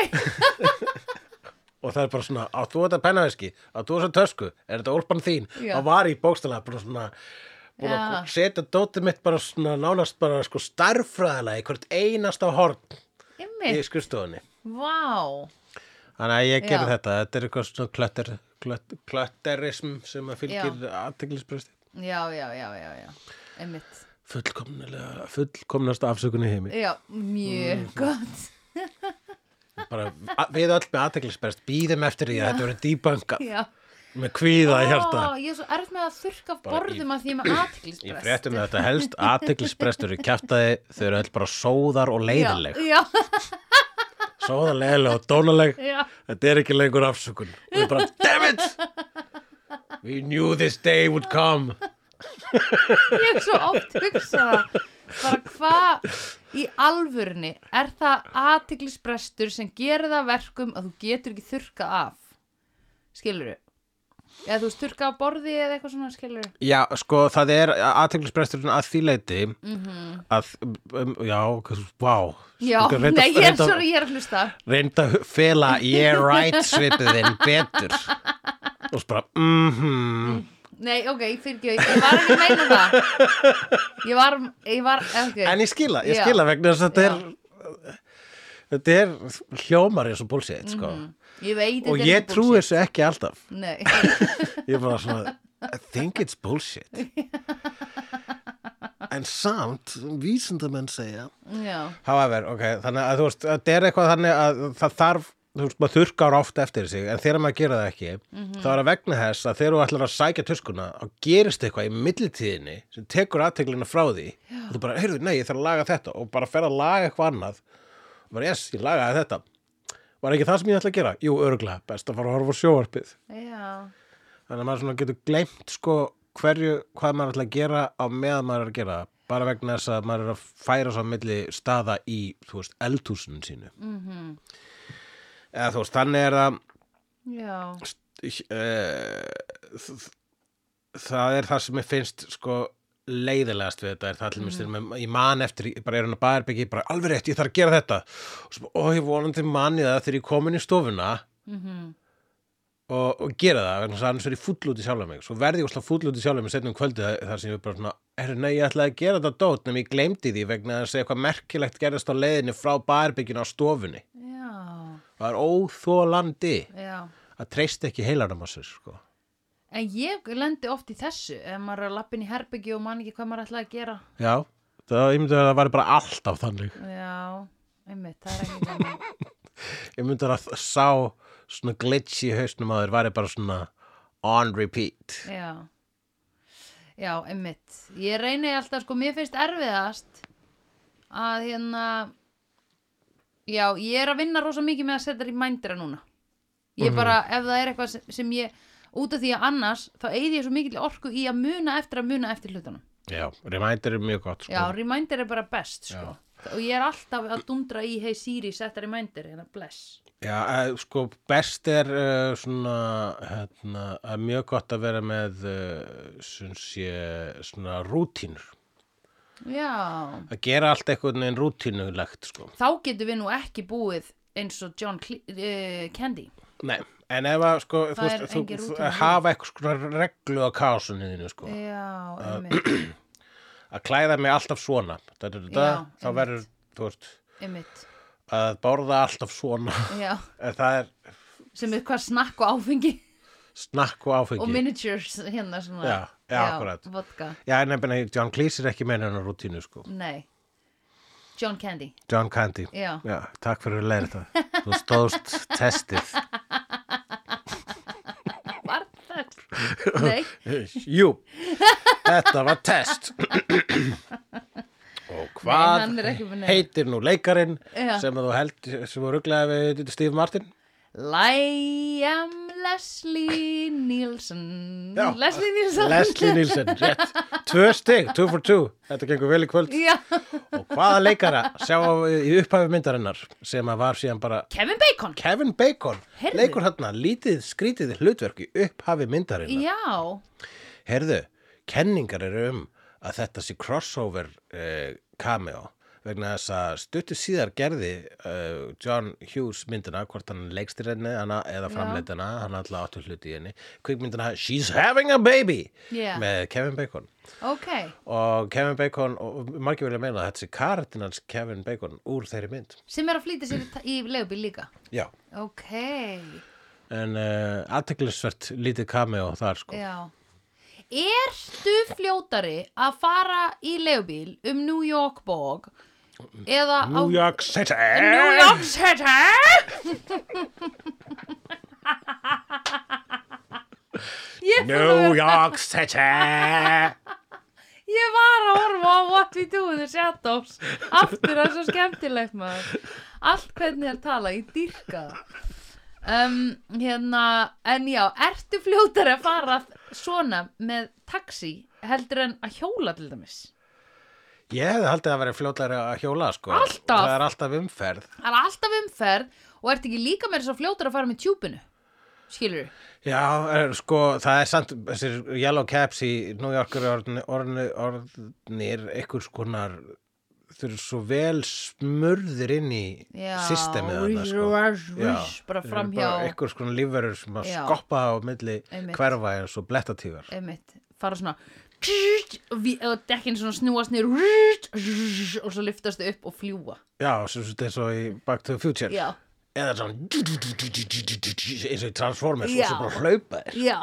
A: og það er bara svona, á þú þetta pennaveski á þú þessa tösku, er þetta úlpan þín
B: Já.
A: og var í bókstælega bara svona búin að
B: Já.
A: setja dótið mitt bara svona nánast bara sko starffræðilega í hvert einasta horn í
B: Einmitt,
A: skrifstofunni
B: vá.
A: þannig að ég gerði
B: Já.
A: þetta, þetta er eitthvað svona klötter, klött, klötterism sem að fylgir aðteglisbrösti
B: Já, já, já, já, já. Einmitt.
A: fullkomnilega, fullkomnasta afsökun í heimi
B: Já, mjög gott.
A: bara a- við öll með aðteglisbröst býðum eftir því að þetta verið dýbanka
B: Já.
A: með kvíða í hjarta
B: Ó, ég er svo erf með að þurrka af
A: Bara í-
B: borðum að því ég er með
A: Ég
B: aðtiklisbrest.
A: fréttum með þetta helst aðteglisbrestur í kjaftaði, þau eru öll bara sóðar og leiðileg.
B: Já,
A: Sóðar, leiðileg og dónaleg,
B: já, já,
A: þetta er ekki lengur afsökun. Og ég bara, damn it! We knew this day would come.
B: ég er svo oft hugsað það. bara hvað í alvörni er það aðtiklisbrestur sem gerir það verkum að þú getur ekki þurrkað af skilur eða þú veist þurrkað af borði eða eitthvað svona skilur
A: Já, sko, það er aðteglisbresturinn að því leiti að, um, já, wow.
B: já, nei ég er svo ég er að hlusta
A: Reynda að fela, yeah right svipiðinn betur. Og svo bara, mhm,
B: nei ok, fyrir ekki, ég var ekki að meina það ég var, ég var ok,
A: En ég skila, ég
B: Já.
A: skila vegna þess að þetta
B: Já.
A: er þetta er hljómar eins og bullshit, sko.
B: ég veit Mhm.
A: Og
B: þetta er
A: ég
B: ekki
A: trúi þessu ekki alltaf.
B: bullshit. nei, [LAUGHS]
A: Ég er bara svona, I think it's
B: [LAUGHS]
A: bullshit. en samt, vísindamenn segja.
B: já,
A: However, ok, þannig að þú veist, þetta er eitthvað þannig að það þarf, þú veist, maður þurrkar oft eftir sig, en þegar maður gera það ekki, þá er að vegna þess að þegar þú ætlar að sækja tuskuna, þá gerist eitthvað í millitíðinni sem tekur aðteglina frá því og þú bara, heyrðu, nei, ég þarf að laga þetta og bara fer að laga eitthvað annað og bara, yes, ég lagaði þetta var ekki það sem ég ætla að gera? Jú, örglega, best að fara að horfa á sjóvarpið
B: já
A: þannig að maður svona getur gleymt sko hverju, hvað maður ætla að gera á meðan maður er að gera það bara vegna þess að maður er að færa svo á milli staða í, þú veist, eldhúsinu sínu
B: mhm
A: eða þú veist, þannig er það
B: Já,
A: uh, það er það sem mér finnst sko leiðilegast við þetta er það til mér mm. ég man eftir, ég bara er hann að baðarbyggi bara alveg rétt, ég þarf að gera þetta og svo, ó, ég vonandi manni það þegar ég komin í stofuna
B: mhm,
A: og, og gera það, vegna þess að annars er ég fúll út í sjálfum mig svo verði ég óslega fúll út í sjálfum mig setnum kvöldi þar sem ég er bara svona, herru, nei, ég ætlaði að gera þetta dót nema ég gleymdi því vegna þess að eitthvað merkilegt gerðist á leiðinni frá barbygginu á stofunni
B: Já,
A: það er óþólandi
B: já.
A: að treysta ekki heilarum á sér sko.
B: En ég lendi oft í þessu ef maður er að lappin í herbyggi og man ekki hvað maður ætlaði að gera.
A: já, það, ég myndi að það væri bara alltaf þannig
B: Já, einmitt, það er [LAUGHS] ekki gaman.
A: ég myndi að það sá svona glitch í hausnum að þér væri bara svona on repeat
B: Já. Já, einmitt. Ég reyni alltaf, sko, mér finnst erfiðast að hérna, já, ég er að vinna rosa mikið með að setja þær í mændra núna. Ég bara, ef það er eitthvað sem, sem ég, út af því að annars, þá eyði ég svo mikil orku í að muna eftir að muna eftir hlutunum.
A: já, reminder er mjög gott sko.
B: Já, reminder er bara best sko. og ég er alltaf að dundra í hey Siri, setta reminder, hérna bless
A: Já, eh, sko, best er uh, svona, hérna, að mjög gott að vera með, uh, syns ég, svona rútínur.
B: Já,
A: Að gera allt einhvern veginn rútínulegt, sko.
B: þá getum við nú ekki búið eins og John Cle uh, Candy
A: Nei, en ef að, sko,
B: Það er
A: þú
B: engin
A: veist, þú
B: rútína. Eh.
A: hafa eitthvað svona reglu á kásunni þínu, sko.
B: Já, einmitt,
A: Að klæða mig alltaf svona, da, da, da, da,
B: Já,
A: þá
B: einmitt.
A: verður, þú veist,
B: einmitt
A: að borða alltaf svona. [LAUGHS]
B: Já,
A: En það er
B: sem er hvað snakk og áfengi
A: snakk og áfengi.
B: og miniatures hérna svona
A: Já, já, akkurat.
B: vodka.
A: Já, nefnir, John Cleese er ekki með hennar rútínu, sko.
B: Nei, John Candy
A: John Candy.
B: Já,
A: Já, takk fyrir að læra það. Þú stóðst testið.
B: var
A: [LAUGHS]
B: það Nei,
A: Jú, þetta var test. Og
B: Nei,
A: hvað
B: hann er ekki með neina.
A: heitir nú leikarinn
B: Já.
A: sem að þú held, sem þú rugglaði við Steve Martin?
B: Liam Leslie Nielsen
A: Já.
B: Leslie Nielsen
A: Leslie Nielsen, rétt. Tvö stig, two for two. Þetta gengur vel í kvöld.
B: [LAUGHS] Já,
A: Og hvaða leikara sjáum við í upphafi myndarinnar sem að var síðan bara
B: Kevin Bacon
A: Kevin Bacon.
B: Heyrðu.
A: Leikur hérna, lítið skrítið hlutverk í upphafi myndarinnar.
B: Já,
A: Herðu, kenningar eru um að þetta sé crossover uh, cameo vegna þess að stuttu síðar gerði uh, John Hughes myndina, hvort hann leikstir henni hana, eða framleitt hana, hann alltaf áttu hluti í henni, kvikmyndina She's Having a Baby
B: Já.
A: með Kevin Bacon.
B: ok
A: Og Kevin Bacon, og margir vilja meina að þetta sé karatinn hans Kevin Bacon úr þeirri mynd.
B: Sem er að flýta sér í ta- í leigubíl líka
A: Já.
B: Ok,
A: En uh, aðteklisvert lítið cameo þar sko.
B: já Ertu fljótari að fara í leigubíl um New York bók eða á
A: New York City!
B: New York City Ég
A: [LAUGHS] New York City!
B: Ég var að horfa á What We Do in the Shadows aftur að svo skemmtilegt maður allt hvernig er tala, ég dýrka það um, hérna en já, ertu fljótar að fara svona með taxi heldur en að hjóla til dæmis
A: Ég hefði haldið að vera fljótlega að hjóla sko.
B: Alltaf.
A: Það er alltaf umferð
B: það er alltaf umferð og ertu ekki líka meira svo fljótar að fara með tjúpinu skilur
A: Já, er, sko, það er samt þessir yellow caps í New Yorker orðni, orðni, orðnir einhvers konar þau eru svo vel smurðir inn í
B: Já,
A: systemið þarna,
B: rís,
A: sko.
B: rís, rís,
A: Já,
B: bara
A: þeir eru
B: framhjá.
A: bara einhvers konar lífverur sem að
B: Já.
A: skoppa á milli
B: Einmitt.
A: hverfa eins og blettatífar
B: einmitt, fara svona við- og dekkin svona snúast niður og svo lyftast þau upp og fljúa
A: Já, sem þetta er svo í Back to the Future
B: Já.
A: eða svona eins og í Transformers
B: Já.
A: og svo bara hlaupa þér
B: Já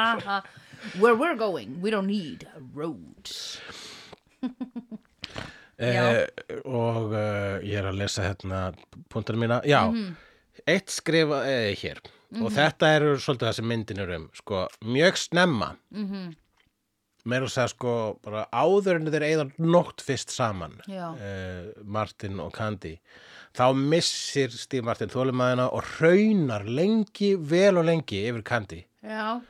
B: [LAUGHS] Where we're going, we don't need roads Já.
A: Eh, og uh, ég er að lesa hérna punktunum mína, já
B: Mhm.
A: eitt skrif uh, hér og þetta eru svolítið það sem myndin er um sko, mjög snemma mm
B: Mhm.
A: meira að segja sko bara áður en þeir eigðar nótt fyrst saman
B: Já.
A: eh, Martin og Candy þá missir Steve Martin þólumæðina og raunar lengi, vel og lengi yfir Candy
B: Já,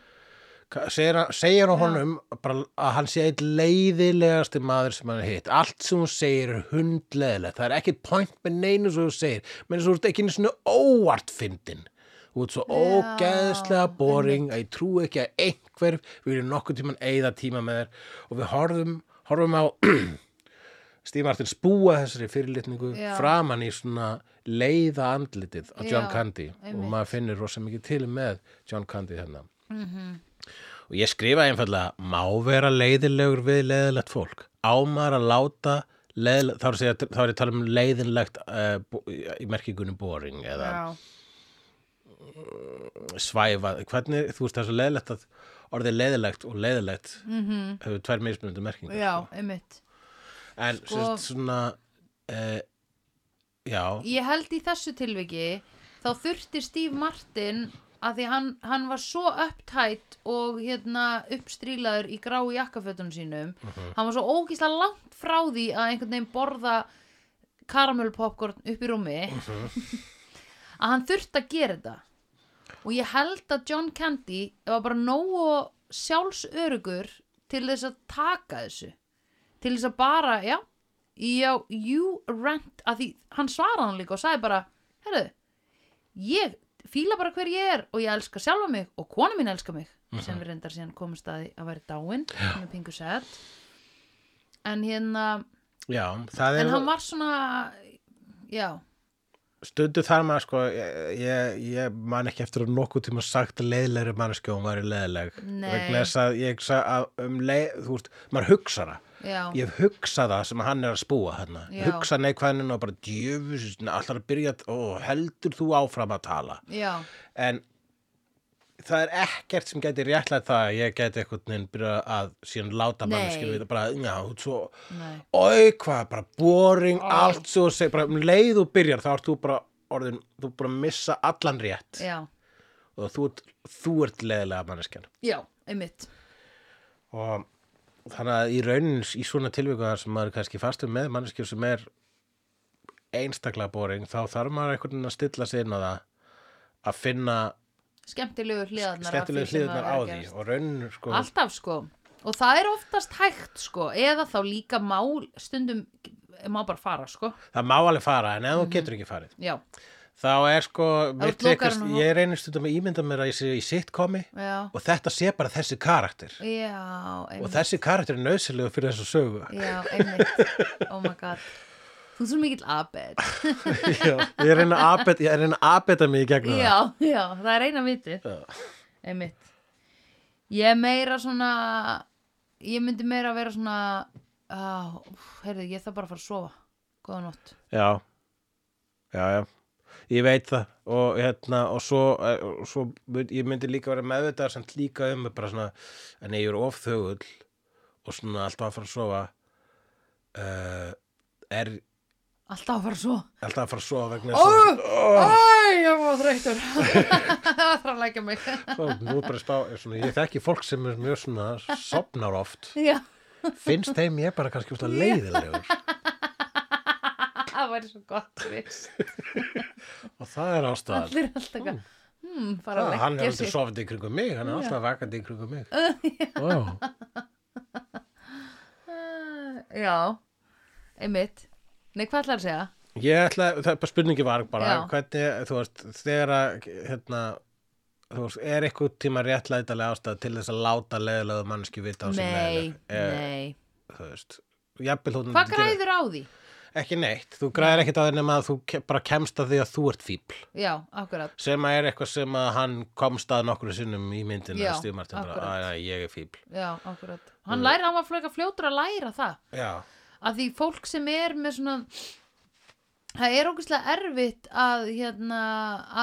A: Ka- segir, hann- segir hún honum bara að hann sé eitt leiðilegasti maður sem hann er hitt allt sem hún segir er hundleðilegt það er ekkit point með neinu sem hún segir menn þess að þú ert ekki einu svona óvart fyndin þú ert svo ógeðslega boring að ég trú ekki að einhver við erum nokkuð tíman eigða tíma með þér og við horfum, horfum á [CLEARS THROAT] Steve Martin spúa þessari fyrirlitningu
B: Já.
A: framan í svona leiða andlitið á
B: Já,
A: John Candy og
B: einmitt.
A: maður finnir rosa mikið til með John Candy hérna og ég skrifa einfallega má vera leiðilegur við leiðilegt fólk á maður að láta leiðilegt, þá er, að segja, þá er ég að tala um leiðinlegt uh, í merkingunum boring eða
B: já,
A: svæfa hvernig, þú veist það er svo leiðilegt að orðið leiðilegt og leiðilegt -hmm. hefur tvær mismunandi merkingar
B: Mhm.
A: sko.
B: já, einmitt
A: en sko... sérst, svona uh, já,
B: ég held í þessu tilviki þá þurfti Steve Martin að því hann, hann var svo upptætt og hérna uppstrílaður í gráu jakkafötunum sínum hann var svo ógísla langt frá því að einhvern veginn borða karamellpopcorn upp í rúmi [LAUGHS] að hann þurfti að gera þetta og ég held að John Candy var bara nógu sjálfsörugur til þess að taka þessu til þess að bara, já já, you rent að því hann svaraði hann líka og sagði bara herru, ég fíla bara hver ég er og ég elska sjálfa mig og kona mín elska mig sem við reyndar síðan komumst að því að væri dáin sem er pingu sett en hérna
A: já það
B: en
A: er
B: hann var svona já,
A: stundu þar maður sko ég, ég, ég man ekki eftir að nokkuð tíma sagt að leiðlegri mannskja hún væri leiðleg
B: Nei.
A: vegna þess að ég sa, að, um leið, þú veist, maður hugsa það
B: já,
A: ég hef hugsað það sem hann er að spúa hérna
B: Já.
A: hugsa neikvæðinu og bara djöfus alltaf að byrja, ó, heldur þú áfram að tala
B: já
A: en það er ekkert sem gæti réttlega það að ég gæti einhvern veginn byrja að síðan láta
B: Nei.
A: manneskinu við bara, já, þú ert svo
B: nei,
A: oi, hvað, bara boring allt svo, seg, bara um leið og byrjar þá ert þú bara orðin, þú bara missa allan rétt
B: já,
A: og þú, ert- þú ert leiðilega manneskjan
B: já, einmitt
A: og þannig að í raunin í svona tilvíkuðar sem maður er kannski fastur með manneskjur sem er einstaklega boring þá þarf maður einhvern veginn að stilla sig inn á það að finna
B: skemmtilegu hliðarnar af
A: skemmtilegu
B: því sem að
A: hliðunar
B: vera
A: á
B: að
A: því
B: gerast.
A: og raunin sko
B: alltaf sko og það er oftast hægt sko eða þá líka má stundum má bara fara sko
A: það má alveg fara en
B: Mhm.
A: ef þú getur ekki farið
B: já,
A: þá er sko mér
B: ert lokaður
A: tekast-
B: inni á-
A: ég reynir stundum að ímynda mér að ég sé í sitcomi
B: já,
A: og þetta sé bara þessi karakter
B: já
A: og
B: einmitt,
A: þessi karakter er nöðsilegu fyrir þessu sögu
B: [LAUGHS] já, einmitt oh my god þú ert svo mikill abed
A: Já, ég er að reyna að abet- ég er að reyna að abeta mig í gegnum það
B: já, já, það er eina viti
A: Já.
B: einmitt ég er meira svona ég myndi meira vera svona á, heyrðu, ég þarf bara að fara að sofa góða nótt
A: já, já, já ég veit það og hérna og svo, eh, og svo mynd, ég myndi líka vera meðvitað sem líka um mig bara svona en ég er of þögull og svona alltaf að fara að sofa uh, er
B: alltaf að fara að sofa
A: alltaf að fara að sofa vegna
B: Ó,
A: þess
B: Æ, ég var
A: [LAUGHS]
B: þreytur Það þarf að lækja mig
A: að Ó, nú er bara að spá, ég svona, ég þekki fólk sem er mjög svona sopnar oft
B: Já,
A: finnst þeim ég bara kannski svona leiðilegur
B: [LAUGHS] það væri svo gott viss.
A: og það er ástæðan
B: Allir alltaf mm. hmm, fara
A: Ah,
B: að
A: hann er
B: leggja
A: aldrei
B: sig
A: sofandi í kringum mig hann er alltaf vakandi í kringum
B: [LAUGHS]
A: mig wow.
B: Já, einmitt Nei, hvað ætlar að segja?
A: Ég ætla, það er bara spurningi var bara
B: Já.
A: hvernig, þú veist, þegar að hérna, þú veist, er eitthvað tíma réttlætalega ástæð til þess að láta leiðilegu mannski vita á sig
B: Nei,
A: Eh,
B: nei
A: Þú veist, jafnvel þú
B: Hvað græður á því?
A: Ekki neitt, þú græðir ekkit á því nema að þú ke bara kemst að því að þú ert fíbl
B: Já, akkurat
A: sem að er eitthvað sem að hann komst að nokkru sinnum í myndinu
B: Já,
A: stíðmart, bara,
B: akkurat.
A: að, að ég er fíbl
B: Já, akkurat Hann læri, hann var flöka fljótur að læra það
A: Já,
B: að því fólk sem er með svona það er ógæslega erfitt að, hérna,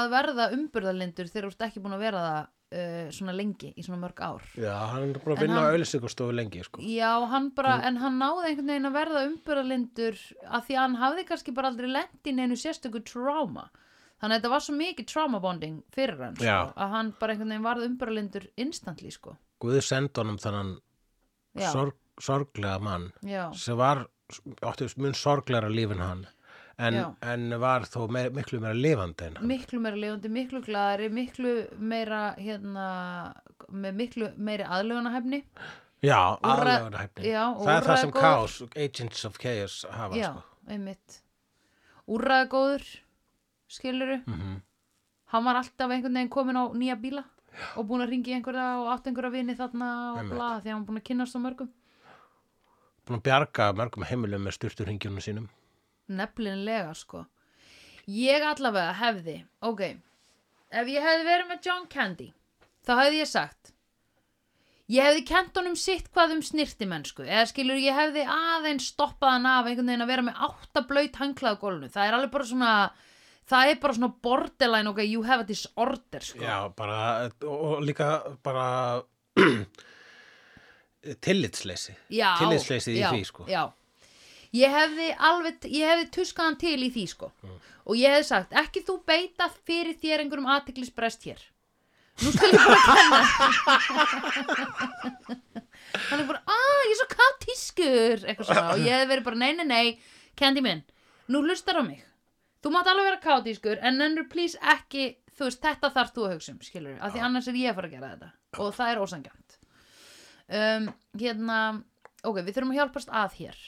B: að verða umburðalindur þegar þú ert ekki búin að vera það uh, svona lengi í svona mörg ár
A: já, hann er
B: En
A: bara að vinna á
B: hann-
A: auðlýsingastofu lengi, sko
B: já, hann bara, en hann náði einhvern veginn að verða umburðalindur að því að hann hafði kannski bara aldrei lent í neinu sérstöku tráma þannig að þetta var svo mikið trauma bonding fyrir hann sko,
A: Já.
B: að hann bara einhvern veginn varð umburðalindur instantly sko
A: Guði senda honum þannan
B: já,
A: sorg, sorglega mann
B: já,
A: sem var átti mun sorglegra lífin hann en,
B: Já.
A: en var þó meir, miklu meira lifandi en hann
B: miklu meira lifandi, miklu glæðari miklu meira hérna, með miklu meiri aðlögunahefni
A: já,
B: Úrra-
A: aðlega hæfni
B: já, og
A: það er það sem
B: úrræðagóður.
A: Chaos, Agents of Chaos hafa
B: já,
A: sko.
B: einmitt úrraðgóður skiluru
A: Mhm.
B: hann var alltaf einhvern veginn komin á nýja bíla og búin að ringi einhverja og átt einhverja vini þarna og
A: Einmitt.
B: bla því að hann var búin að kynast á mörgum
A: búin að bjarga mörgum heimilum með styrturhingjunum sínum
B: Nefnilega sko Ég allavega hefði Ok, ef ég hefði verið með John Candy Þá hefði ég sagt Ég hefði kent honum sitt hvað um snirtimennsku Eða skilur, ég hefði aðeins stoppað hann af einhvern veginn að vera með átta blöyt hanglað á gólfinu Það er alveg bara svona Það er bara svona borderline ok, you have a disorder sko
A: Já, bara, og líka bara [CLEARS THROAT] tillitsleysi
B: Já,
A: tillitsleysi í
B: já,
A: því sko
B: já. Ég hefði alveg, ég hefði tuskaðan til í því sko og ég hefði sagt, ekki þú beita fyrir þér einhverjum aðtiklisbrest hér nú skal ég bara kenna [LAUGHS] hann er bara, að ég er svo katískur eitthvað svona og ég hefði verið bara, nei, nei, nei Candy minn, nú hlustar á mig þú mátt alveg vera katískur en nennur please ekki, þú veist, þetta þarf þú að hugsa um skilur, af því annars er ég að fara að gera þetta og það er ósangjönd um, hérna ok, við þurfum að hjálpast að hér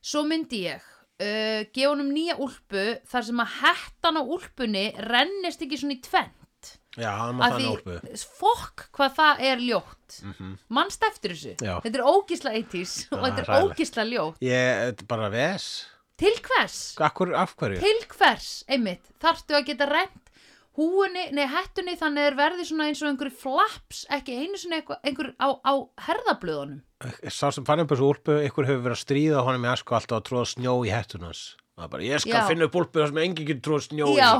B: svo myndi ég uh, gefa honum nýja úlpu þar sem að hettan á úlpunni rennist ekki svona í tvent
A: Já, hann má þannig úlpu Mhm.
B: fokk hvað það er ljótt mm -hmm. mannst eftir þessu
A: Já.
B: þetta er ógisla 80s og
A: Já,
B: þetta er
A: hræðilegt.
B: ógisla ljótt
A: Ég, þetta er bara ves
B: til hvers?
A: Akkur, af hverju?
B: til hvers, einmitt, þarftu að geta rent húunni, nei hettunni þannig er verði svona eins og einhverju flaps ekki einu svona einhver, einhver á, á herðablöðunum
A: Sá sem fann upp þessu úlpu, ykkur hefur verið að stríða honum í asku alltaf að tróða snjó í hettunans Það er bara, ég skal
B: Já.
A: finna upp úlpu þar sem enginn getur tróða snjó í
B: já,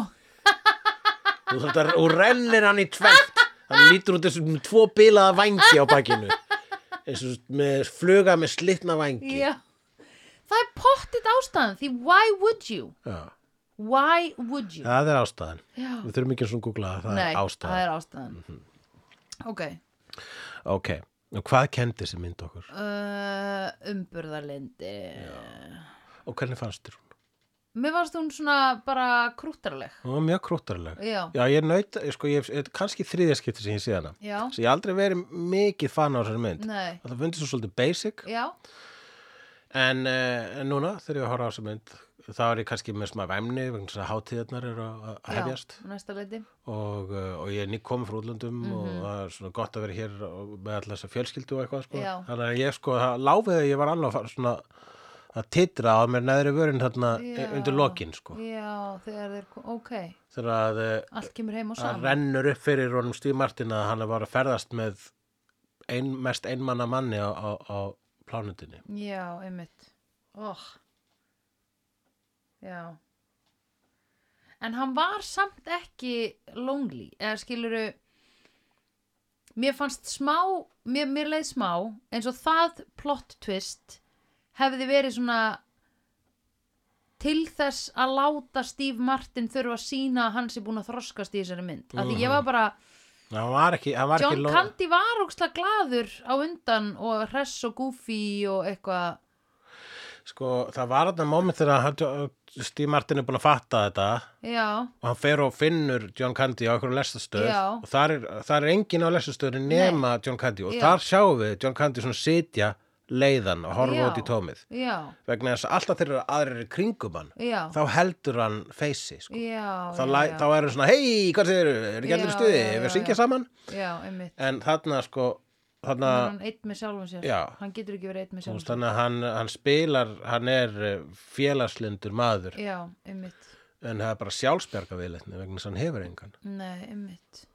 A: Þú þarft að, og rennir hann í tvegt Hann lítur út þessum tvo bilaða vangi á bakinu eins og með fluga með slitna vangi
B: já það er pottit ástæðan því why would you
A: Já.
B: why would you
A: Það er ástæðan.
B: Já.
A: Við þurfum ekki að svona googla það, það
B: nei,
A: er
B: það
A: ástæðan. Mhm.
B: er ástæðan ok
A: Ok, og hvað kendi þessi mynd okkur?
B: uh, umburðarlindi
A: Og hvernig fannst þér hún?
B: mér varst hún svona bara krúttarleg
A: Hún var mjög krúttarleg.
B: já,
A: Já, ég naut, ég sko, ég, þetta er kannski þriðja skipti sem ég sé hana.
B: já,
A: Svo ég hef aldrei verið mikið fan á þessari mynd.
B: nei
A: Það fundið svo svolítið basic,
B: já,
A: en, eh, en núna þegar ég horfa á þessari mynd, þá er ég kannski með smá væmni, vegna þess að hátíðarnar eru að að
B: já,
A: hefjast
B: næsta leiti
A: og, eh, og ég er nýtt komin frá útlöndum
B: Mhm.
A: og það er svona gott að vera hér og- með alltaf þess að fjölskyldu og eitthvað sko.
B: Já.
A: þannig að ég sko, það láfið að ég var alveg að fara svona að titra á mér neðri vörin þarna
B: Já.
A: eh, undir lokin sko.
B: já, þegar þeir, ko- ok
A: þegar að, eh,
B: allt kemur heim og
A: að
B: saman
A: rennur upp fyrir honum Steve Martin að hann var að ferðast með ein, mest einmanna manni á, á, á plánutinni
B: já, einmitt oh. já en hann var samt ekki lonely, eða skiluru mér fannst smá mér, mér leið smá eins og það plot twist hefði verið svona til þess að láta Steve Martin þurfa að sína að hann sé búin að þroskast í þessari mynd af því ég var bara,
A: hann var ekki, hann var
B: John
A: ekki lo-
B: Candy var ókslega glaður á undan og hress og goofy og eitthvað
A: sko, það var þarna moment þegar hann- Steve Martin er búin að fatta þetta
B: já,
A: og hann fer og finnur John Candy á einhverjum lestastöð
B: Já.
A: og þar er, þar er engin á lestastöðin nema John Candy og
B: Já.
A: þar sjáum við John Candy svona sitja leiðan og
B: Já.
A: horfa út í tómið
B: já,
A: vegna þess að alltaf þeirra aðrir eru í kringum hann
B: já
A: þá heldur hann feysi sko.
B: já,
A: þá,
B: já,
A: læ-
B: já,
A: þá er hann svona hei, hvað segir þau, er ekki
B: Já,
A: allir í stuði
B: já,
A: ef
B: já,
A: við syngja saman
B: já, einmitt
A: en þarna sko
B: hann
A: þarna,
B: er hann eitt með sjálfum sér
A: Já.
B: hann getur ekki verið eitt með
A: þú
B: sjálfum
A: veist,
B: sér
A: þannig að hann, hann spilar hann er eh, félagslindur maður
B: já, einmitt,
A: en það er bara sjálfsbjarga viðletni vegna þess að hann hefur engan
B: nei, einmitt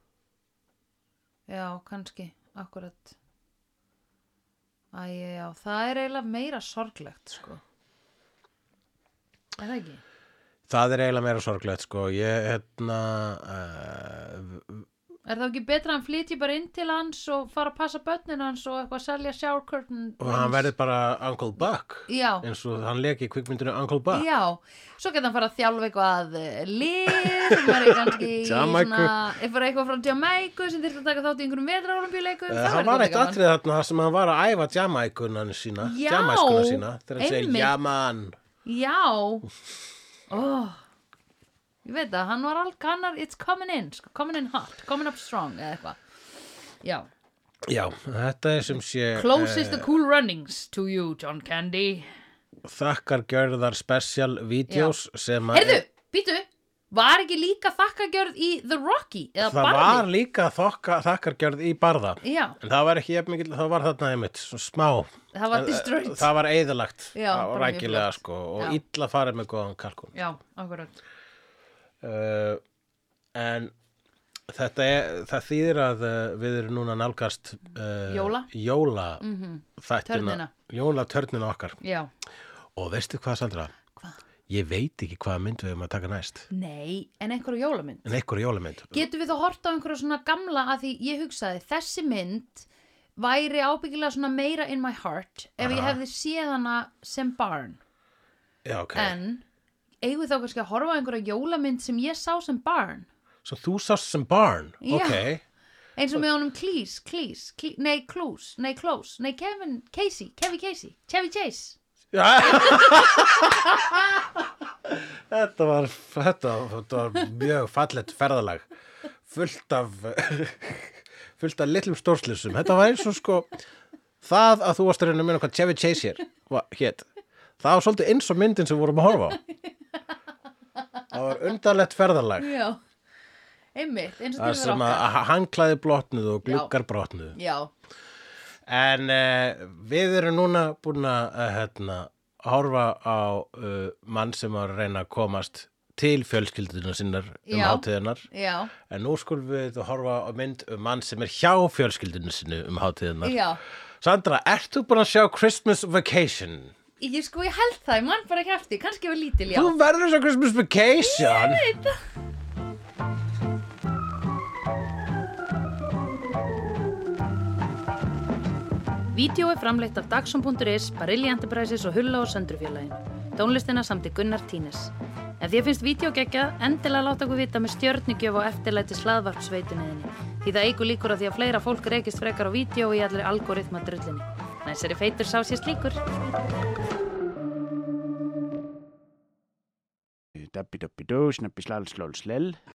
B: já, kannski akkurat æ, já, það er eiginlega meira sorglegt sko er það ekki?
A: Það er eiginlega meira sorglegt sko ég hérna uh,
B: Er það ekki betra að hann flytji bara inn til hans og fara að passa börnin hans og eitthvað að selja shower curtain
A: og hann verður bara Uncle Buck
B: Já,
A: eins og hann leki í kvikmyndinu Uncle Buck
B: já, um svo getur hann fara að þjálfa eitthvað eh, lið sem var kannski í
A: Jamaiku.
B: svona, eitthvað eitthvað frá Jamaiku sem þyrfti að taka þátt í einhverjum vetrarólumbíuleikum
A: Uh, hann var eitt atrið þarna þar sem hann var að æfa jamaikunana sína,
B: Já,
A: jamaikuna sína þegar hann segir
B: einmitt.
A: jaman
B: Já oh. Ég veit það, hann var all kannar It's coming in, sko, coming in hot Coming up strong eða eitthvað Já,
A: Já, þetta er sem sé eh,
B: closest the cool runnings to you, John Candy
A: þakkar gjörðar special videos sem að
B: Heyrðu, býtu, Var ekki líka þakkagjörð í The Rocky eða
A: það
B: Barði?
A: var líka þokka, þakkargjörð í barða
B: Já,
A: en það var ekki jafn mikil, það var þarna einmitt svo smá,
B: það
A: En,
B: var
A: eh,
B: destroyed.
A: það var eðalagt
B: Já, bara mjög
A: rækilega
B: flott.
A: sko og
B: Já.
A: illa farið með góðan kalkun
B: Já, akkurat.
A: uh, en þetta er, það þýðir að uh, við erum núna að nálgast uh,
B: Jóla.
A: jóla
B: Mm
A: þættina,
B: Törnina.
A: jóla törnina okkar
B: Já.
A: og veistu hvað Sandra,
B: Hvað?
A: ég veit ekki hvaða mynd við erum að taka næst
B: Nei, en einhverju jólamynd.
A: en einhverja jólamynd
B: Getum við þá horta á einhverja svona gamla að því ég hugsaði þessi mynd væri ábyggilega svona meira in my heart ef ég
A: Aha.
B: hefði séð hana sem barn.
A: Já, ok.
B: En eigum við þá kannski að horfa á einhverja jólamynd sem ég sá sem barn?
A: svo þú sást sem barn
B: Já.
A: ok,
B: Eins og með honum Cleese, Cleese, Cleese, nei Close, nei Close, nei Kevin, Casey, Kevin Casey, Chevy Chase.
A: Já. [LAUGHS] þetta, var, þetta, þetta var mjög fallett ferðalag fullt af [LAUGHS] fullt af litlum stórslisum þetta var eins og sko það að þú varst að reyna að minna hvað Chevy Chase hér var- hét, það var svolítið eins og myndin sem við vorum að horfa á það var undarlegt ferðalag
B: Já, einmitt, eins og
A: það
B: til
A: sem að að hanglaði blotnuð og
B: Já.
A: gluggar brotnuð
B: Já,
A: en uh, við erum núna búin að uh, hérna, horfa á uh, mann sem var að reyna að komast til fjölskylduna sinnar um
B: Já.
A: hátíðinar
B: já,
A: en nú skulum við horfa á mynd um mann sem er hjá fjölskylduna sinni um hátíðinar
B: já.
A: Sandra, ert þú búin að sjá Christmas Vacation?
B: Ég sko, ég held það, ég mann bara ekki eftir, kannski var lítil, já.
A: Þú verður svo Christmas Vacation
B: Vídeó er framleitt af Dagsum.is, Barilli Enterprises og Hulla og Söndrufjörlægin. Tónlistina samt í Gunnar Tínes. Ef því finnst vídeo geggja, endilega láta okkur vita með stjörnigjöf og eftirlæti slaðvarpsveituninni. Því það eigur líkur að því að fleira fólk reykist frekar á vídeo í allri algoritma drullinni. Næsari feitur sá sér slíkur.
C: Dabbi dabbi dó, snabbi slal slal slel.